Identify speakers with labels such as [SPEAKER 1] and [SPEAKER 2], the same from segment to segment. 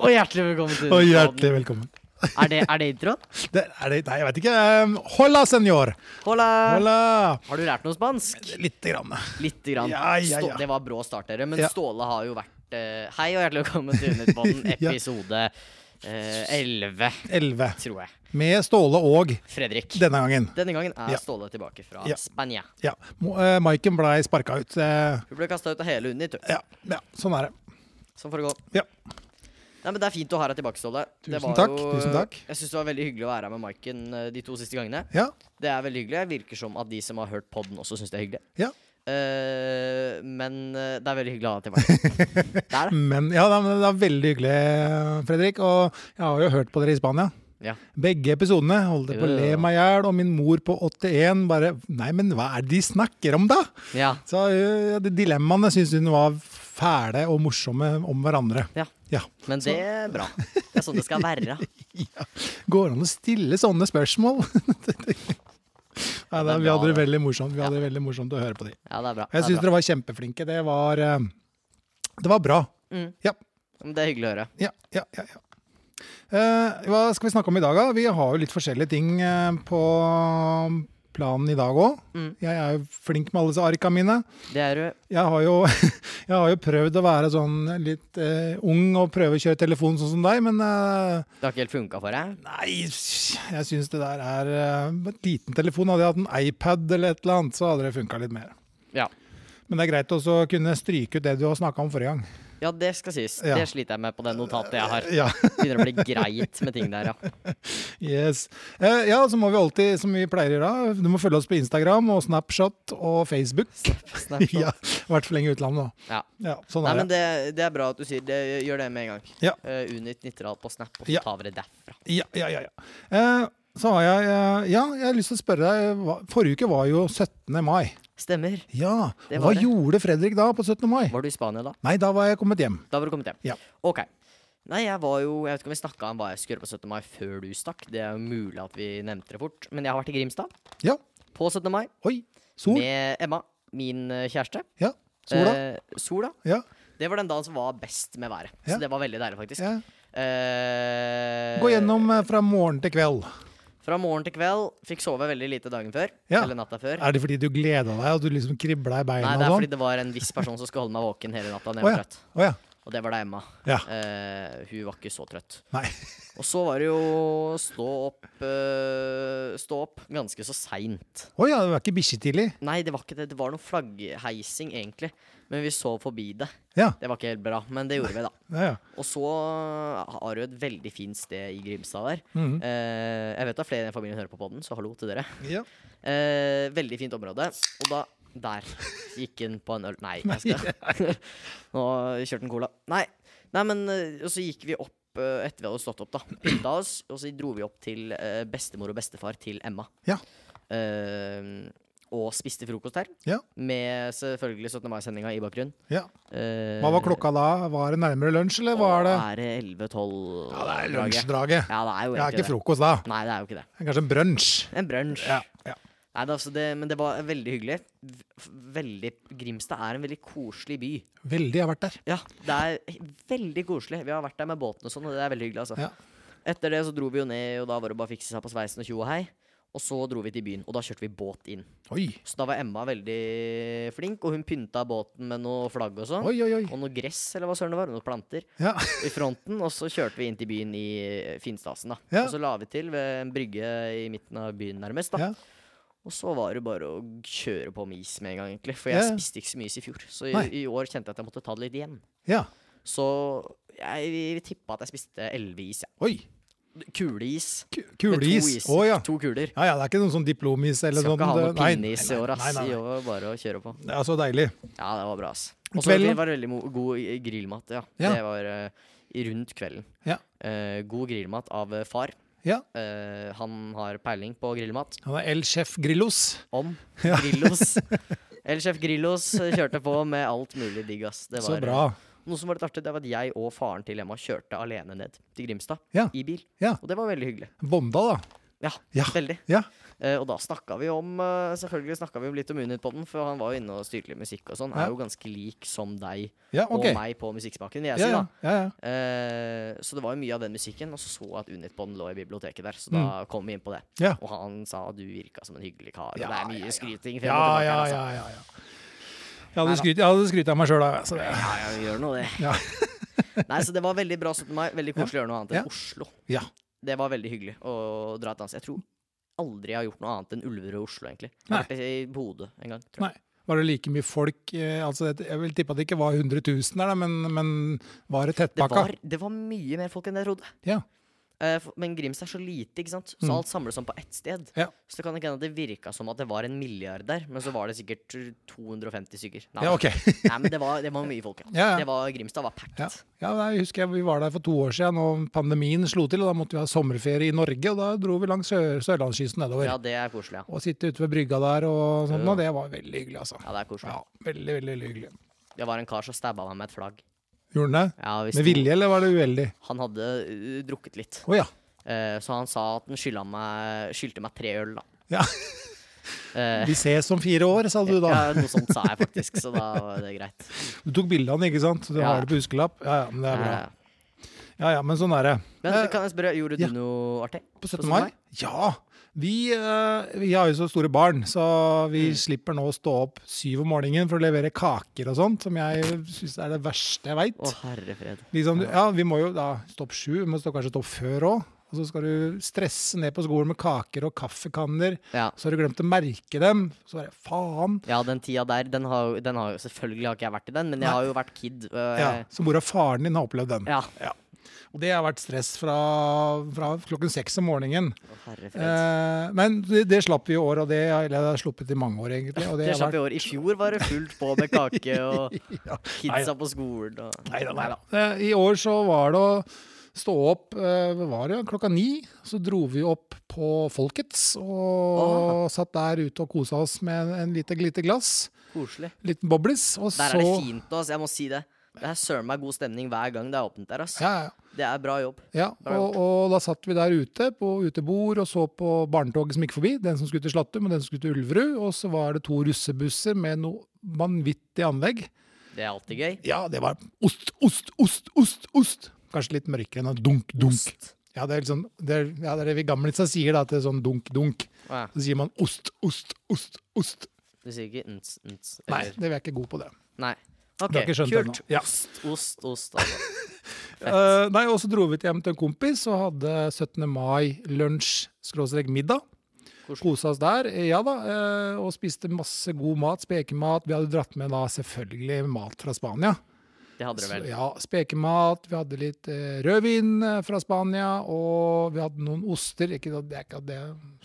[SPEAKER 1] Og hjertelig velkommen til
[SPEAKER 2] Og hjertelig velkommen.
[SPEAKER 1] Er det, er det introen?
[SPEAKER 2] Det, er det, nei, jeg vet ikke. Um, Hola, senor!
[SPEAKER 1] Hola.
[SPEAKER 2] Hola!
[SPEAKER 1] Har du lært noe spansk?
[SPEAKER 2] Lite grann.
[SPEAKER 1] Lite grann.
[SPEAKER 2] Ja, ja, ja.
[SPEAKER 1] Stå- Det var brå start, dere. Men
[SPEAKER 2] Ja.
[SPEAKER 1] Ståle har jo vært eh, Hei og hjertelig velkommen til Underpodden,
[SPEAKER 2] Ja.
[SPEAKER 1] episode eh, 11,
[SPEAKER 2] 11.
[SPEAKER 1] tror jeg.
[SPEAKER 2] Med Ståle og
[SPEAKER 1] Fredrik.
[SPEAKER 2] denne gangen.
[SPEAKER 1] Denne gangen er
[SPEAKER 2] Ja.
[SPEAKER 1] Ståle tilbake fra
[SPEAKER 2] Ja.
[SPEAKER 1] Spania.
[SPEAKER 2] Ja. Mo- eh, Maiken blei sparka ut. eh,
[SPEAKER 1] Hun ble kasta ut av hele Unit, du.
[SPEAKER 2] ja, ja, sånn er det.
[SPEAKER 1] Sånn får det gå.
[SPEAKER 2] Ja.
[SPEAKER 1] Nei, men Det er fint å ha deg tilbake, Ståle. Det
[SPEAKER 2] Tusen
[SPEAKER 1] var
[SPEAKER 2] takk, tusen takk.
[SPEAKER 1] Jeg syns det var veldig hyggelig å være her med Maiken eh, de to siste gangene.
[SPEAKER 2] Ja,
[SPEAKER 1] Det er veldig hyggelig. Det virker som at de som har hørt podden, også syns det er hyggelig.
[SPEAKER 2] ja.
[SPEAKER 1] Eh, men eh, det er veldig hyggelig å ha deg tilbake. det er det.
[SPEAKER 2] Men ja, da- men det er veldig hyggelig, Fredrik. Og jeg har jo hørt på dere i Spania.
[SPEAKER 1] Ja.
[SPEAKER 2] Begge episodene. Holdt på å le
[SPEAKER 1] Ja.
[SPEAKER 2] meg i hjel, og min mor på 81 bare Nei, men hva er det de snakker om, da?
[SPEAKER 1] Ja.
[SPEAKER 2] Så eh, de dilemmaene syns hun var fæle og morsomme om hverandre.
[SPEAKER 1] ja.
[SPEAKER 2] Ja.
[SPEAKER 1] Men det er bra. Det er sånn det skal være.
[SPEAKER 2] Ja. Går det an å stille sånne spørsmål? Nei, da,
[SPEAKER 1] er
[SPEAKER 2] vi
[SPEAKER 1] bra,
[SPEAKER 2] hadde det
[SPEAKER 1] det.
[SPEAKER 2] veldig morsomt Vi hadde det veldig morsomt å høre på de.
[SPEAKER 1] Ja, det er bra.
[SPEAKER 2] Jeg
[SPEAKER 1] det,
[SPEAKER 2] syns
[SPEAKER 1] er bra.
[SPEAKER 2] dere var kjempeflinke. Det var, eh, det var bra.
[SPEAKER 1] Mm.
[SPEAKER 2] Ja,
[SPEAKER 1] Men det er hyggelig å høre.
[SPEAKER 2] ja, ja. ja, ja. Eh, hva skal vi snakke om i dag, da? Vi har jo litt forskjellige ting eh, på planen i dag òg.
[SPEAKER 1] Mm.
[SPEAKER 2] Jeg er jo flink med alle disse arka mine.
[SPEAKER 1] Det er du.
[SPEAKER 2] Jeg har, jo, jeg har jo prøvd å være sånn litt eh, ung og prøve å kjøre telefon sånn som deg, men eh,
[SPEAKER 1] Det har ikke helt funka for deg?
[SPEAKER 2] Nei, jeg syns det der er eh, med En liten telefon. Hadde jeg hatt en iPad eller et eller annet, så hadde det funka litt mer.
[SPEAKER 1] Ja.
[SPEAKER 2] Men det er greit også å kunne stryke ut det du har snakka om forrige gang.
[SPEAKER 1] ja, det skal sies.
[SPEAKER 2] Ja.
[SPEAKER 1] Det sliter jeg med på det notatet jeg har.
[SPEAKER 2] Ja,
[SPEAKER 1] Begynner å bli greit med ting der, ja.
[SPEAKER 2] yes. Eh, ja så må vi alltid, som vi pleier å gjøre, du må følge oss på Instagram og Snapshot og Facebook.
[SPEAKER 1] Snapchat.
[SPEAKER 2] Ja, vært for lenge i utlandet, da.
[SPEAKER 1] Ja.
[SPEAKER 2] Ja, sånn
[SPEAKER 1] Nei,
[SPEAKER 2] er
[SPEAKER 1] men
[SPEAKER 2] det.
[SPEAKER 1] det, det er bra at du sier det. Gjør det med en gang.
[SPEAKER 2] Ja.
[SPEAKER 1] Eh, Unit Nittedal på Snap, og så
[SPEAKER 2] Ja.
[SPEAKER 1] tar vi det derfra.
[SPEAKER 2] Ja, ja, ja. ja. Eh, så har jeg eh, Ja, jeg har lyst til å spørre deg. hva- Forrige uke var jo 17. mai.
[SPEAKER 1] Stemmer.
[SPEAKER 2] Ja.
[SPEAKER 1] Det
[SPEAKER 2] Hva
[SPEAKER 1] var det.
[SPEAKER 2] gjorde Fredrik da på 17. mai?
[SPEAKER 1] Var du i Spania da?
[SPEAKER 2] Nei, da var jeg kommet hjem.
[SPEAKER 1] Da var du kommet hjem?
[SPEAKER 2] Ja.
[SPEAKER 1] Ok. Nei, jeg var jo Jeg vet ikke om vi snakka om hva jeg skulle gjøre på 17. mai før du stakk. Det er jo mulig at vi nevnte det fort. Men jeg har vært i Grimstad
[SPEAKER 2] Ja.
[SPEAKER 1] på 17. mai
[SPEAKER 2] Oi. Sol.
[SPEAKER 1] med Emma, min eh, kjæreste.
[SPEAKER 2] Ja. Sola.
[SPEAKER 1] Eh, sola.
[SPEAKER 2] ja.
[SPEAKER 1] Det var den dagen som var best med været.
[SPEAKER 2] Ja.
[SPEAKER 1] Så det var veldig deilig, faktisk.
[SPEAKER 2] ja.
[SPEAKER 1] Eh,
[SPEAKER 2] Gå gjennom eh, fra morgen til kveld.
[SPEAKER 1] Fra morgen til kveld. Fikk sove veldig lite dagen før.
[SPEAKER 2] Ja.
[SPEAKER 1] Eller natta før.
[SPEAKER 2] Er det fordi du gleda deg og du liksom kribla i beina
[SPEAKER 1] Nei, det er
[SPEAKER 2] og
[SPEAKER 1] fordi
[SPEAKER 2] sånn?
[SPEAKER 1] det var en viss person som skulle holde meg våken hele natta. når
[SPEAKER 2] Å
[SPEAKER 1] jeg var
[SPEAKER 2] ja.
[SPEAKER 1] trøtt.
[SPEAKER 2] Å ja.
[SPEAKER 1] Og det var da Emma.
[SPEAKER 2] Ja.
[SPEAKER 1] Eh, hun var ikke så trøtt.
[SPEAKER 2] Nei.
[SPEAKER 1] Og så var det jo stå opp eh, Stå opp ganske så seint.
[SPEAKER 2] Å ja, det var ikke bikkjetidlig.
[SPEAKER 1] Nei, det var ikke det. Det var noe flaggheising, egentlig. Men vi så forbi det.
[SPEAKER 2] Ja.
[SPEAKER 1] Det var ikke helt bra, men det gjorde vi, da.
[SPEAKER 2] Ja, ja.
[SPEAKER 1] Og så eh, har du et veldig fint sted i Grimstad der.
[SPEAKER 2] Mhm.
[SPEAKER 1] Eh, jeg vet at flere i den familien hører på podden, så hallo til dere.
[SPEAKER 2] ja.
[SPEAKER 1] Eh, veldig fint område. Og da Der gikk han på en øl. Nei, jeg skal Nå kjørte han cola. Nei. Nei, men eh, Og så gikk vi opp eh, etter vi hadde stått opp, da. Pynta oss, og så dro vi opp til eh, bestemor og bestefar til Emma.
[SPEAKER 2] Ja.
[SPEAKER 1] Eh, og spiste frokost her.
[SPEAKER 2] Ja.
[SPEAKER 1] Med selvfølgelig 17. mai-sendinga i bakgrunnen.
[SPEAKER 2] ja.
[SPEAKER 1] Eh,
[SPEAKER 2] Hva var klokka da? Var det nærmere lunsj, eller var det
[SPEAKER 1] Er det 11-12?
[SPEAKER 2] Ja, det er lunsjdraget.
[SPEAKER 1] Ja, det er jo
[SPEAKER 2] Det er
[SPEAKER 1] egentlig
[SPEAKER 2] ikke
[SPEAKER 1] det.
[SPEAKER 2] frokost da.
[SPEAKER 1] Nei, det er jo ikke det.
[SPEAKER 2] Det er kanskje en brunsj.
[SPEAKER 1] En brunsj.
[SPEAKER 2] Ja. ja.
[SPEAKER 1] Nei, det, er altså det, men det var veldig hyggelig. V- f- Veldig, Grimstad er en veldig koselig by.
[SPEAKER 2] Veldig, jeg har vært der.
[SPEAKER 1] Ja, Det er he- veldig koselig. Vi har vært der med båten og sånn, og det er veldig hyggelig. altså.
[SPEAKER 2] Ja.
[SPEAKER 1] Etter det så dro vi jo ned, og da var det bare å fikse seg på sveisen og tjo og hei. Og så dro vi til byen, og da kjørte vi båt inn.
[SPEAKER 2] Oi.
[SPEAKER 1] Så da var Emma veldig flink, og hun pynta båten med noe flagg og sånn.
[SPEAKER 2] Oi, oi, oi.
[SPEAKER 1] Og noe gress, eller hva søren det var. Noen planter
[SPEAKER 2] Ja.
[SPEAKER 1] i fronten. Og så kjørte vi inn til byen i eh, Finstasen, da.
[SPEAKER 2] Ja.
[SPEAKER 1] Og så la vi til ved en brygge i midten av byen, nærmest. da.
[SPEAKER 2] ja.
[SPEAKER 1] Og så var det bare å kjøre på med is med en gang, egentlig. For jeg
[SPEAKER 2] Ja, ja.
[SPEAKER 1] spiste ikke så mye is i fjor. Så i,
[SPEAKER 2] Nei.
[SPEAKER 1] i år kjente jeg at jeg måtte ta det litt igjen.
[SPEAKER 2] ja.
[SPEAKER 1] Så jeg tippa at jeg spiste elleve is. Ja.
[SPEAKER 2] Oi.
[SPEAKER 1] Kuleis.
[SPEAKER 2] Ku-
[SPEAKER 1] Med
[SPEAKER 2] Kuleis.
[SPEAKER 1] To, is,
[SPEAKER 2] Å ja.
[SPEAKER 1] to kuler.
[SPEAKER 2] Ja, ja, det er ikke noen sånn diplomis eller
[SPEAKER 1] Skal
[SPEAKER 2] sånn.
[SPEAKER 1] ikke ha noe
[SPEAKER 2] det- nei,
[SPEAKER 1] pinneis i
[SPEAKER 2] nei,
[SPEAKER 1] år, ass.
[SPEAKER 2] Nei, nei,
[SPEAKER 1] I
[SPEAKER 2] nei.
[SPEAKER 1] år var det bare å kjøre på.
[SPEAKER 2] Det er så deilig.
[SPEAKER 1] Ja, det var bra, ass. Og så
[SPEAKER 2] Kvelden, da?
[SPEAKER 1] var det veldig mo- god i- grillmat, ja.
[SPEAKER 2] Ja.
[SPEAKER 1] Det var eh, rundt kvelden.
[SPEAKER 2] Ja.
[SPEAKER 1] Eh, god grillmat av eh, far.
[SPEAKER 2] Ja.
[SPEAKER 1] Eh, han har peiling på grillmat.
[SPEAKER 2] Han er El Chef Grillos.
[SPEAKER 1] om Grillos. El Chef Grillos kjørte på med alt mulig digg, ass. Det
[SPEAKER 2] Så
[SPEAKER 1] var, eh,
[SPEAKER 2] bra.
[SPEAKER 1] Noe som var litt artig, det var at jeg og faren til Emma kjørte alene ned til Grimstad
[SPEAKER 2] Ja.
[SPEAKER 1] i bil.
[SPEAKER 2] Ja.
[SPEAKER 1] Og det var veldig hyggelig.
[SPEAKER 2] Bonda, da.
[SPEAKER 1] Ja,
[SPEAKER 2] Ja.
[SPEAKER 1] veldig.
[SPEAKER 2] Ja.
[SPEAKER 1] Eh, og da snakka vi om eh, Selvfølgelig snakka vi om litt om Unitpodden, for han var jo inne og styrte litt musikk og sånn.
[SPEAKER 2] Ja.
[SPEAKER 1] Er jo ganske lik som deg
[SPEAKER 2] Ja, ok.
[SPEAKER 1] og meg på musikksmaken, vil jeg
[SPEAKER 2] Ja,
[SPEAKER 1] si.
[SPEAKER 2] ja,
[SPEAKER 1] da
[SPEAKER 2] ja, ja.
[SPEAKER 1] Eh, så det var jo mye av den musikken, og så så jeg at Unitbånd lå i biblioteket der. Så da kom vi inn på det.
[SPEAKER 2] Mm. Ja.
[SPEAKER 1] Og han sa du virka som en hyggelig kar.
[SPEAKER 2] Ja,
[SPEAKER 1] og det er
[SPEAKER 2] ja,
[SPEAKER 1] mye
[SPEAKER 2] ja.
[SPEAKER 1] skryting. frem
[SPEAKER 2] Ja,
[SPEAKER 1] og tilbake
[SPEAKER 2] ja,
[SPEAKER 1] her, altså.
[SPEAKER 2] ja, ja, ja. Jeg hadde skrytt, jeg hadde skrytt av meg sjøl, da. Så det,
[SPEAKER 1] Ja, ja, vi gjør nå det.
[SPEAKER 2] Ja.
[SPEAKER 1] Nei, så det var veldig bra 17. mai. Veldig koselig å gjøre noe annet enn
[SPEAKER 2] Ja.
[SPEAKER 1] Oslo.
[SPEAKER 2] ja.
[SPEAKER 1] Det var veldig hyggelig å dra et annet sted. Jeg tror aldri jeg har gjort noe annet enn Ulverud og Oslo, egentlig. Jeg har vært i Bodø en gang. Tror jeg.
[SPEAKER 2] Nei. Var det like mye folk eh, altså, Jeg vil tippe at det ikke var 100 000 der, da, men, men var det
[SPEAKER 1] Det,
[SPEAKER 2] tettpakka?
[SPEAKER 1] var, det var mye mer folk enn jeg trodde.
[SPEAKER 2] Ja.
[SPEAKER 1] Eh, for- Men Grims er så lite, ikke sant? så alt samles om på ett sted.
[SPEAKER 2] Mm. Ja.
[SPEAKER 1] Så det kan ikke hende at det virka som at det var en milliard der, men så var det sikkert 250 stykker. Nei,
[SPEAKER 2] Ja, ok.
[SPEAKER 1] nei men det var, det var mye folk. Ja.
[SPEAKER 2] Ja, ja.
[SPEAKER 1] Det var, Grimstad var packed.
[SPEAKER 2] Ja. ja, nei, jeg husker jeg, Vi var der for to år siden, og pandemien slo til. og Da måtte vi ha sommerferie i Norge, og da dro vi langs sør sørlandskysten nedover.
[SPEAKER 1] Ja, det er koselig, ja.
[SPEAKER 2] Og sitte ute ved brygga der og sånn, og det var veldig hyggelig, altså.
[SPEAKER 1] Ja, det er koselig.
[SPEAKER 2] Ja, veldig, veldig, veldig hyggelig.
[SPEAKER 1] Det var en kar som stabba meg med et flagg.
[SPEAKER 2] Gjorde den det?
[SPEAKER 1] Ja, vi sto-
[SPEAKER 2] Med vilje, eller var det uheldig?
[SPEAKER 1] Han hadde uh, drukket litt,
[SPEAKER 2] Å ja.
[SPEAKER 1] Eh, så han sa at han skylda meg, skyldte meg tre øl, da.
[SPEAKER 2] ja.
[SPEAKER 1] Eh,
[SPEAKER 2] Vi ses om fire år, sa du da.
[SPEAKER 1] ja, noe sånt sa jeg faktisk, så da var det greit.
[SPEAKER 2] Du tok bilde av den, ikke sant? Du
[SPEAKER 1] Ja.
[SPEAKER 2] har det på huskelapp? Ja, ja, men det er bra.
[SPEAKER 1] Eh,
[SPEAKER 2] Ja, ja, men sånn er det.
[SPEAKER 1] Men
[SPEAKER 2] Eh,
[SPEAKER 1] kan jeg spørre, gjorde du
[SPEAKER 2] ja.
[SPEAKER 1] noe artig?
[SPEAKER 2] På 17. mai? Ja. Vi, eh, vi har jo så store barn, så vi slipper nå å stå opp syv om morgenen for å levere kaker og sånt, som jeg syns er det verste jeg veit.
[SPEAKER 1] Å, herre fred.
[SPEAKER 2] Liksom, du- ja, vi må jo da stå opp sju, vi må stå kanskje stå opp før òg. Og så skal du stresse ned på skolen med kaker og kaffekanner.
[SPEAKER 1] Ja.
[SPEAKER 2] Så har du glemt å merke dem. Så bare faen.
[SPEAKER 1] ja, den tida der, den har, den har jo Selvfølgelig har ikke jeg vært i den, men jeg har jo vært kid. øh,
[SPEAKER 2] Ja, så mora og faren din har opplevd den.
[SPEAKER 1] ja.
[SPEAKER 2] Og det har vært stress fra, fra klokken seks om morgenen.
[SPEAKER 1] Å, herre fred.
[SPEAKER 2] Eh, men det, det slapp vi i år, og det har eller det har jeg sluppet i mange år, egentlig. Og det
[SPEAKER 1] det
[SPEAKER 2] har
[SPEAKER 1] slapp i år. I fjor var det fullt på med kake, og
[SPEAKER 2] vært- ja.
[SPEAKER 1] kidsa på skolen og
[SPEAKER 2] Nei da, nei da. Eh, I år så var det å stå opp eh, hva var det, klokka ni. Så dro vi opp på Folkets
[SPEAKER 1] Ah.
[SPEAKER 2] og satt der ute og kosa oss med en, en lite lite glass.
[SPEAKER 1] Koselig.
[SPEAKER 2] Liten boblis. Og
[SPEAKER 1] Der
[SPEAKER 2] så
[SPEAKER 1] er det fint, altså. Jeg må si det. Det er søren meg god stemning hver gang det er åpent der, ass.
[SPEAKER 2] Ja, ja.
[SPEAKER 1] Det er bra jobb.
[SPEAKER 2] ja.
[SPEAKER 1] Bra
[SPEAKER 2] Og, og da satt vi der ute på utebord og så på barnetoget som gikk forbi. Den som skulle til Slattum, og den som skulle til Ulverud. Og så var det to russebusser med noe vanvittig anlegg.
[SPEAKER 1] Det er alltid gøy.
[SPEAKER 2] Ja, det var ost, ost, ost, ost, ost. Kanskje litt mørkere enn en dunk, dunk.
[SPEAKER 1] Ost.
[SPEAKER 2] Ja, det er litt sånn, det er, ja, det er det vi gamlisa sier da, til sånn dunk, dunk.
[SPEAKER 1] Å, ja.
[SPEAKER 2] Så sier man ost, ost, ost, ost.
[SPEAKER 1] Du sier ikke ns, ns,
[SPEAKER 2] Nei,
[SPEAKER 1] eller
[SPEAKER 2] det er jeg ikke god på det.
[SPEAKER 1] Nei. OK,
[SPEAKER 2] har ikke skjønt det
[SPEAKER 1] kult.
[SPEAKER 2] ennå. Ja.
[SPEAKER 1] Ost, ost, ost. Altså.
[SPEAKER 2] Eh, nei, og så dro vi til hjem til en kompis og hadde 17. mai lunsj, skråstrek middag.
[SPEAKER 1] Koselig.
[SPEAKER 2] Kosa oss der, eh, ja da, eh, og spiste masse god mat, spekemat. Vi hadde dratt med da selvfølgelig mat fra Spania.
[SPEAKER 1] Det hadde du
[SPEAKER 2] Så,
[SPEAKER 1] vel.
[SPEAKER 2] ja, spekemat, vi hadde litt eh, rødvin eh, fra Spania, og vi hadde noen oster. Ikke, at- det er ikke at det,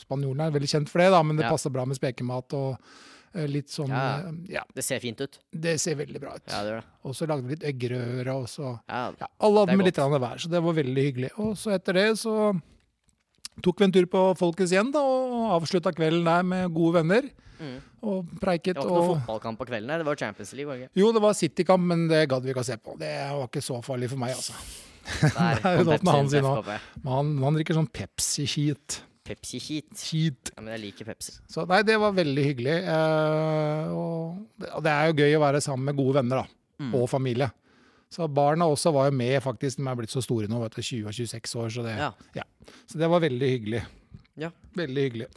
[SPEAKER 2] spanjolene er veldig kjent for det, da, men det
[SPEAKER 1] Ja.
[SPEAKER 2] passer bra med spekemat og eh, litt sånn
[SPEAKER 1] Ja.
[SPEAKER 2] eh, ja.
[SPEAKER 1] Det ser fint ut.
[SPEAKER 2] det ser veldig bra ut.
[SPEAKER 1] Ja, det gjør det.
[SPEAKER 2] Og så lagde vi litt eggerøre, og så
[SPEAKER 1] Ja,
[SPEAKER 2] ja, Alle
[SPEAKER 1] Det er
[SPEAKER 2] hadde med litt grann hver, så det var veldig hyggelig. Og så etter det så tok vi en tur på Folkets igjen, da, og avslutta kvelden der med gode venner.
[SPEAKER 1] Mm.
[SPEAKER 2] Og preiket
[SPEAKER 1] Det var ikke noe
[SPEAKER 2] og
[SPEAKER 1] fotballkamp på kvelden her, det var Champions League. var det
[SPEAKER 2] Jo, det var Citykamp, men det gadd vi ikke å se på. Det var ikke så farlig for meg, altså.
[SPEAKER 1] ikke? Der
[SPEAKER 2] er
[SPEAKER 1] kom
[SPEAKER 2] jo noe med han
[SPEAKER 1] Pepsi
[SPEAKER 2] sin
[SPEAKER 1] til
[SPEAKER 2] også.
[SPEAKER 1] FKP.
[SPEAKER 2] Men han, han drikker sånn Pepsi-skit.
[SPEAKER 1] Pepsi Heat.
[SPEAKER 2] Skit.
[SPEAKER 1] Ja, men jeg liker Pepsi.
[SPEAKER 2] Så nei, det var veldig hyggelig. Eh, og det- og det er jo gøy å være sammen med gode venner, da.
[SPEAKER 1] Mm.
[SPEAKER 2] Og familie. Så barna også var jo med, faktisk. De er blitt så store nå, vet du. 20 og 26 år. Så det,
[SPEAKER 1] Ja.
[SPEAKER 2] ja. så det var veldig hyggelig.
[SPEAKER 1] Ja.
[SPEAKER 2] Veldig hyggelig.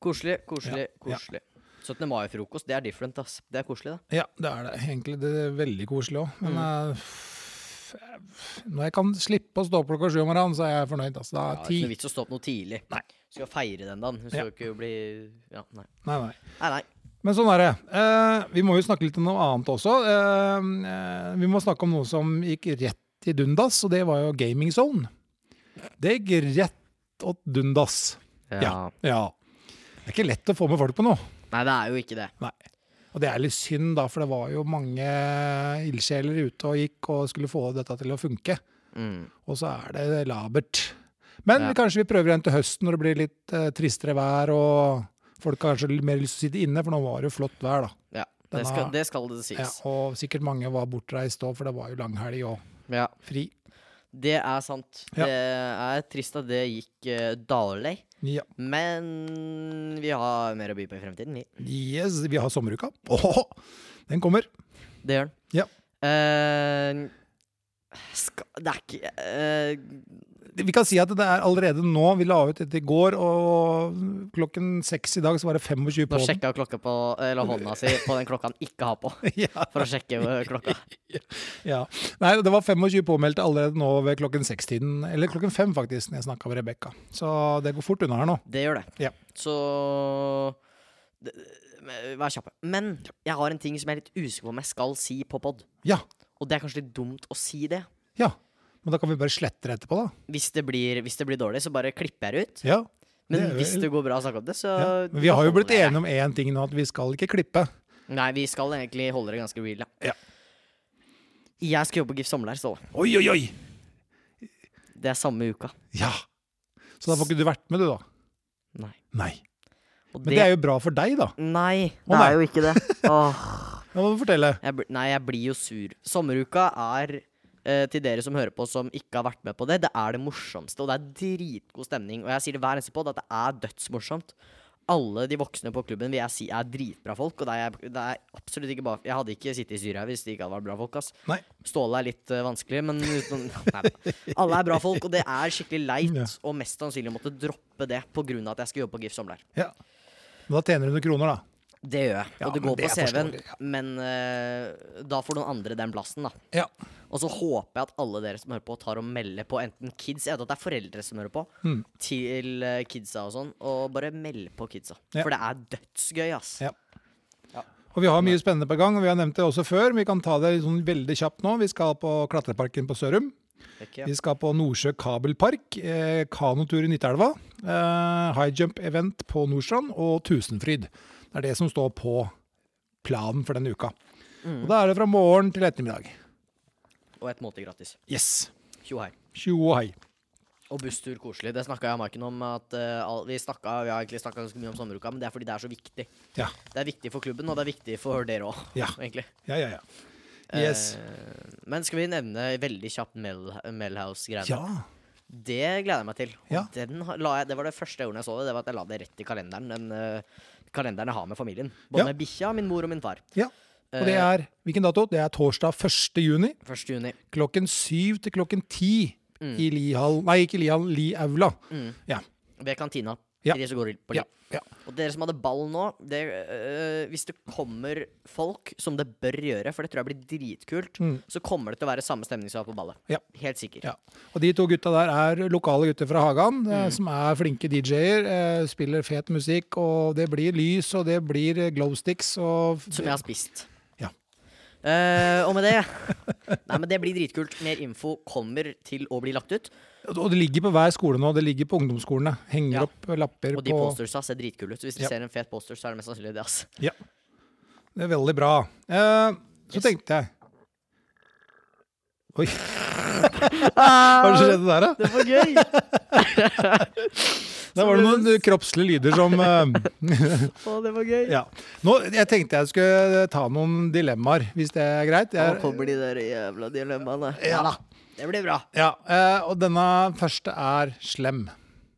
[SPEAKER 1] Koselig, koselig,
[SPEAKER 2] Ja, ja.
[SPEAKER 1] koselig. 17. mai-frokost, det er different, ass. Det er koselig, da.
[SPEAKER 2] Ja, det er det. Egentlig det er veldig koselig òg. Men
[SPEAKER 1] Mm.
[SPEAKER 2] eh, f- f- når jeg kan slippe å stå opp klokka sju om morgenen, så er jeg fornøyd. Altså,
[SPEAKER 1] Ja, det
[SPEAKER 2] det
[SPEAKER 1] er ikke
[SPEAKER 2] er
[SPEAKER 1] noe
[SPEAKER 2] ti.
[SPEAKER 1] vits å stå opp noe tidlig.
[SPEAKER 2] Nei.
[SPEAKER 1] Du skal feire den dagen. Du skal jo ikke bli Ja, nei.
[SPEAKER 2] Nei, nei.
[SPEAKER 1] Nei, nei.
[SPEAKER 2] Men sånn er det. Eh, vi må jo snakke litt om noe annet også. Eh, eh, vi må snakke om noe som gikk rett i dundas, og det var jo Gaming Zone. Det gikk rett åt dundas. Ja. Ja. Det er ikke lett å få med folk på noe.
[SPEAKER 1] Nei, det er jo ikke det.
[SPEAKER 2] Nei. Og det er litt synd, da, for det var jo mange ildsjeler ute og gikk og skulle få dette til å funke.
[SPEAKER 1] Mm.
[SPEAKER 2] Og så er det labert. Men
[SPEAKER 1] Ja.
[SPEAKER 2] kanskje vi prøver igjen til høsten når det blir litt eh, tristere vær, og folk har kanskje litt mer lyst til å sitte inne, for nå var det jo flott vær, da.
[SPEAKER 1] Ja.
[SPEAKER 2] Den
[SPEAKER 1] Det skal
[SPEAKER 2] har-
[SPEAKER 1] det, skal det
[SPEAKER 2] Ja,
[SPEAKER 1] sies.
[SPEAKER 2] og sikkert mange var bortreist òg, for det var jo langhelg og
[SPEAKER 1] Ja.
[SPEAKER 2] fri.
[SPEAKER 1] Det er sant.
[SPEAKER 2] Ja.
[SPEAKER 1] Det er trist at det gikk uh, dårlig.
[SPEAKER 2] Ja.
[SPEAKER 1] Men vi har mer å by på i fremtiden, vi.
[SPEAKER 2] Yes, vi har sommeruka. Åh, den kommer.
[SPEAKER 1] Det gjør den.
[SPEAKER 2] Ja.
[SPEAKER 1] Eh, ska, det er ikke eh,
[SPEAKER 2] Vi kan si at det er allerede nå. Vi la ut dette i går, og klokken seks i dag så var det
[SPEAKER 1] Nå
[SPEAKER 2] 25 på den.
[SPEAKER 1] sjekka klokka på Eller hånda si på den klokka han ikke har på,
[SPEAKER 2] Ja,
[SPEAKER 1] for å sjekke eh, klokka.
[SPEAKER 2] ja. Nei, det var 25 påmeldte allerede nå ved klokken seks-tiden. Eller klokken fem, faktisk, når jeg snakka med Rebekka. Så det går fort unna her nå.
[SPEAKER 1] Det gjør det.
[SPEAKER 2] Ja.
[SPEAKER 1] Så det- men Vær kjappe. Men jeg har en ting som jeg er litt usikker på om jeg skal si på pod.
[SPEAKER 2] Ja.
[SPEAKER 1] Og det er kanskje litt dumt å si det.
[SPEAKER 2] ja. Men da kan vi bare slette det etterpå, da.
[SPEAKER 1] Hvis det blir, hvis det blir dårlig, så bare klipper jeg det ut.
[SPEAKER 2] Ja.
[SPEAKER 1] Men
[SPEAKER 2] Det er
[SPEAKER 1] hvis
[SPEAKER 2] vel-
[SPEAKER 1] det går bra å snakke om det, så
[SPEAKER 2] ja. Men vi har jo blitt enige om én ting nå, at vi skal ikke klippe.
[SPEAKER 1] Nei, vi skal egentlig holde det ganske real,
[SPEAKER 2] Ja.
[SPEAKER 1] Jeg skal jobbe på GIF Sommerleir, Ståle.
[SPEAKER 2] Oi, oi, oi!
[SPEAKER 1] Det er samme uka.
[SPEAKER 2] Ja. Så da får ikke du vært med, du, da.
[SPEAKER 1] Nei.
[SPEAKER 2] Nei.
[SPEAKER 1] Og
[SPEAKER 2] Men det er jo bra for deg, da.
[SPEAKER 1] Nei, det er
[SPEAKER 2] nei.
[SPEAKER 1] jo ikke det. Åh.
[SPEAKER 2] Nå må du fortelle.
[SPEAKER 1] Jeg, bl- nei, jeg blir jo sur. Sommeruka er eh, til dere som hører på som ikke har vært med på det, det er det morsomste, og det er dritgod stemning. Og jeg sier det hver eneste podd at det er dødsmorsomt. Alle de voksne på klubben vil jeg si er dritbra folk, og det er, det er absolutt ikke bare Jeg hadde ikke sittet i styret her hvis det ikke hadde vært bra folk, ass.
[SPEAKER 2] Nei.
[SPEAKER 1] Ståle er litt eh, vanskelig, men utenom Nei da. Alle er bra folk, og det er skikkelig leit
[SPEAKER 2] Ja.
[SPEAKER 1] og mest sannsynlig å måtte droppe det pga. at jeg skal jobbe på GIF Somler.
[SPEAKER 2] Ja. Men da tjener du noen kroner, da.
[SPEAKER 1] Det gjør jeg,
[SPEAKER 2] Ja,
[SPEAKER 1] og det
[SPEAKER 2] men
[SPEAKER 1] går på
[SPEAKER 2] det er
[SPEAKER 1] CV-en,
[SPEAKER 2] forståelig, ja.
[SPEAKER 1] men eh, da får noen andre den plassen, da.
[SPEAKER 2] Ja.
[SPEAKER 1] Og så håper jeg at alle dere som hører på, tar og melder på enten kids Jeg vet at det er foreldre som hører på,
[SPEAKER 2] Mm.
[SPEAKER 1] til eh, kidsa og sånn, og bare meld på kidsa.
[SPEAKER 2] Ja.
[SPEAKER 1] For det er dødsgøy, ass.
[SPEAKER 2] Ja. Og vi har mye spennende på gang, og vi har nevnt det også før. men Vi kan ta det sånn veldig kjapt nå. Vi skal på Klatreparken på Sørum.
[SPEAKER 1] Ikke?
[SPEAKER 2] Vi skal på Nordsjø kabelpark, eh, kanotur i Nyttelva, eh, high jump-event på Nordstrand og Tusenfryd. Det er det som står på planen for denne uka. Og da er det fra morgen til ettermiddag.
[SPEAKER 1] Og et måltid gratis.
[SPEAKER 2] Yes.
[SPEAKER 1] Tjo hei.
[SPEAKER 2] Tjo og hei.
[SPEAKER 1] Og busstur koselig. Det snakka jeg og Maiken om. At, eh, all, vi, snakket, vi har egentlig snakka ganske mye om sommeruka, men det er fordi det er så viktig.
[SPEAKER 2] Ja,
[SPEAKER 1] Det er viktig for klubben, og det er viktig for dere òg,
[SPEAKER 2] Ja.
[SPEAKER 1] egentlig.
[SPEAKER 2] ja, ja. ja. Yes.
[SPEAKER 1] Eh, men skal vi nevne veldig kjapt Mel, Melhouse-greiene?
[SPEAKER 2] Ja.
[SPEAKER 1] Det gleder jeg meg til. Og
[SPEAKER 2] Ja.
[SPEAKER 1] den ha- la jeg, det var det første ordene jeg så det. Det var at jeg la det rett i kalenderen. Den eh, kalenderen jeg har med familien. Både
[SPEAKER 2] Ja.
[SPEAKER 1] med bikkja, min mor og min far.
[SPEAKER 2] ja. Og det er hvilken dato? Det er torsdag 1. juni.
[SPEAKER 1] 1. juni.
[SPEAKER 2] klokken syv til klokken ti i Lihall Nei, ikke Lihall, Liaula. Ja.
[SPEAKER 1] Ved kantina.
[SPEAKER 2] Ja.
[SPEAKER 1] Til de som går på
[SPEAKER 2] Ja,
[SPEAKER 1] litt.
[SPEAKER 2] ja.
[SPEAKER 1] Og dere som hadde ball nå, det, eh, hvis det kommer folk, som det bør gjøre, for det tror jeg blir dritkult, så kommer det til å være samme stemning som var på ballet.
[SPEAKER 2] Mm. Ja.
[SPEAKER 1] Helt sikker.
[SPEAKER 2] ja. Og de to gutta der er lokale gutter fra Hagan,
[SPEAKER 1] Mm.
[SPEAKER 2] eh, som er flinke DJ-er, eh, spiller fet musikk, og det blir lys, og det blir eh, glowsticks og
[SPEAKER 1] Som jeg har spist.
[SPEAKER 2] Ja.
[SPEAKER 1] Eh, og med det Nei, men det blir dritkult. Mer info kommer til å bli lagt ut.
[SPEAKER 2] Og det ligger på hver skole nå, det ligger på ungdomsskolene. Henger
[SPEAKER 1] Ja.
[SPEAKER 2] opp lapper
[SPEAKER 1] Og de
[SPEAKER 2] på
[SPEAKER 1] postersa ser dritkule ut. Så hvis du
[SPEAKER 2] Ja.
[SPEAKER 1] ser en fet poster, så er det mest sannsynlig det. ass
[SPEAKER 2] Ja. Det er veldig bra. Eh, så
[SPEAKER 1] Yes.
[SPEAKER 2] tenkte jeg Oi, hva er det som skjedde der, da?
[SPEAKER 1] Ah, Det var gøy!
[SPEAKER 2] Der var det noen eh, kroppslige lyder som eh,
[SPEAKER 1] Å, det var gøy.
[SPEAKER 2] Ja. Nå, jeg tenkte jeg skulle eh, ta noen dilemmaer, hvis det er greit.
[SPEAKER 1] Nå
[SPEAKER 2] Jeg,
[SPEAKER 1] kommer de der jævla dilemmaene.
[SPEAKER 2] Ja da.
[SPEAKER 1] Det blir bra.
[SPEAKER 2] ja, eh, og denne første er slem.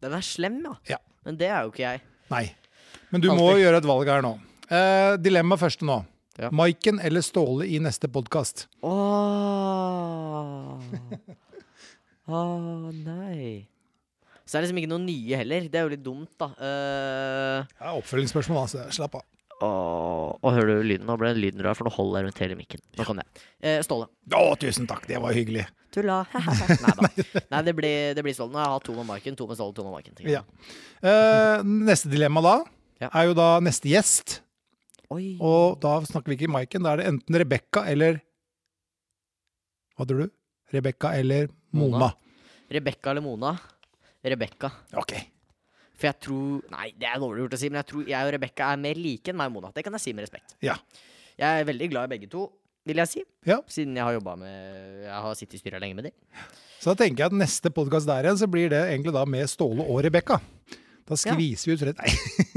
[SPEAKER 1] Den er slem, ja.
[SPEAKER 2] Ja.
[SPEAKER 1] Men det er jo ikke jeg.
[SPEAKER 2] Nei. Men du må
[SPEAKER 1] Alltid.
[SPEAKER 2] gjøre et valg her nå. Eh, dilemma første nå.
[SPEAKER 1] Ja.
[SPEAKER 2] Maiken eller Ståle i neste podkast?
[SPEAKER 1] Åh. Åh, nei. Så er det liksom ikke noen nye heller. Det er jo litt dumt, da. Eh,
[SPEAKER 2] Ja, oppfølgingsspørsmål, altså. Slapp av.
[SPEAKER 1] Åh, og hører du lyden? Nå ble det lyden rar, for nå holder jeg rundt hele mikken. Nå kom det. Eh, Ståle.
[SPEAKER 2] Å, tusen takk, det var hyggelig.
[SPEAKER 1] Tulla. Nei da. Nei, det blir, det blir Ståle. Nå har jeg hatt to med Maiken, to med Ståle, to med Maiken. tenker jeg.
[SPEAKER 2] Ja. Eh, neste dilemma da
[SPEAKER 1] Ja.
[SPEAKER 2] er jo da neste gjest.
[SPEAKER 1] Oi.
[SPEAKER 2] Og da snakker vi ikke Maiken, da er det enten Rebekka eller Hva tror du? Rebekka eller Mona.
[SPEAKER 1] Mona. Rebekka eller Mona? Rebekka.
[SPEAKER 2] Ok.
[SPEAKER 1] For jeg tror Nei, det er dårlig gjort å si, men jeg tror jeg og Rebekka er mer like enn meg og Mona. Det kan jeg si med respekt.
[SPEAKER 2] Ja.
[SPEAKER 1] Jeg er veldig glad i begge to, vil jeg si.
[SPEAKER 2] Ja.
[SPEAKER 1] Siden jeg har jobba med Jeg har sittet i styret lenge med dem.
[SPEAKER 2] Så da tenker jeg at neste podkast der igjen, så blir det egentlig da med Ståle og Rebekka. Da
[SPEAKER 1] Ja.
[SPEAKER 2] skviser vi ut rett Nei,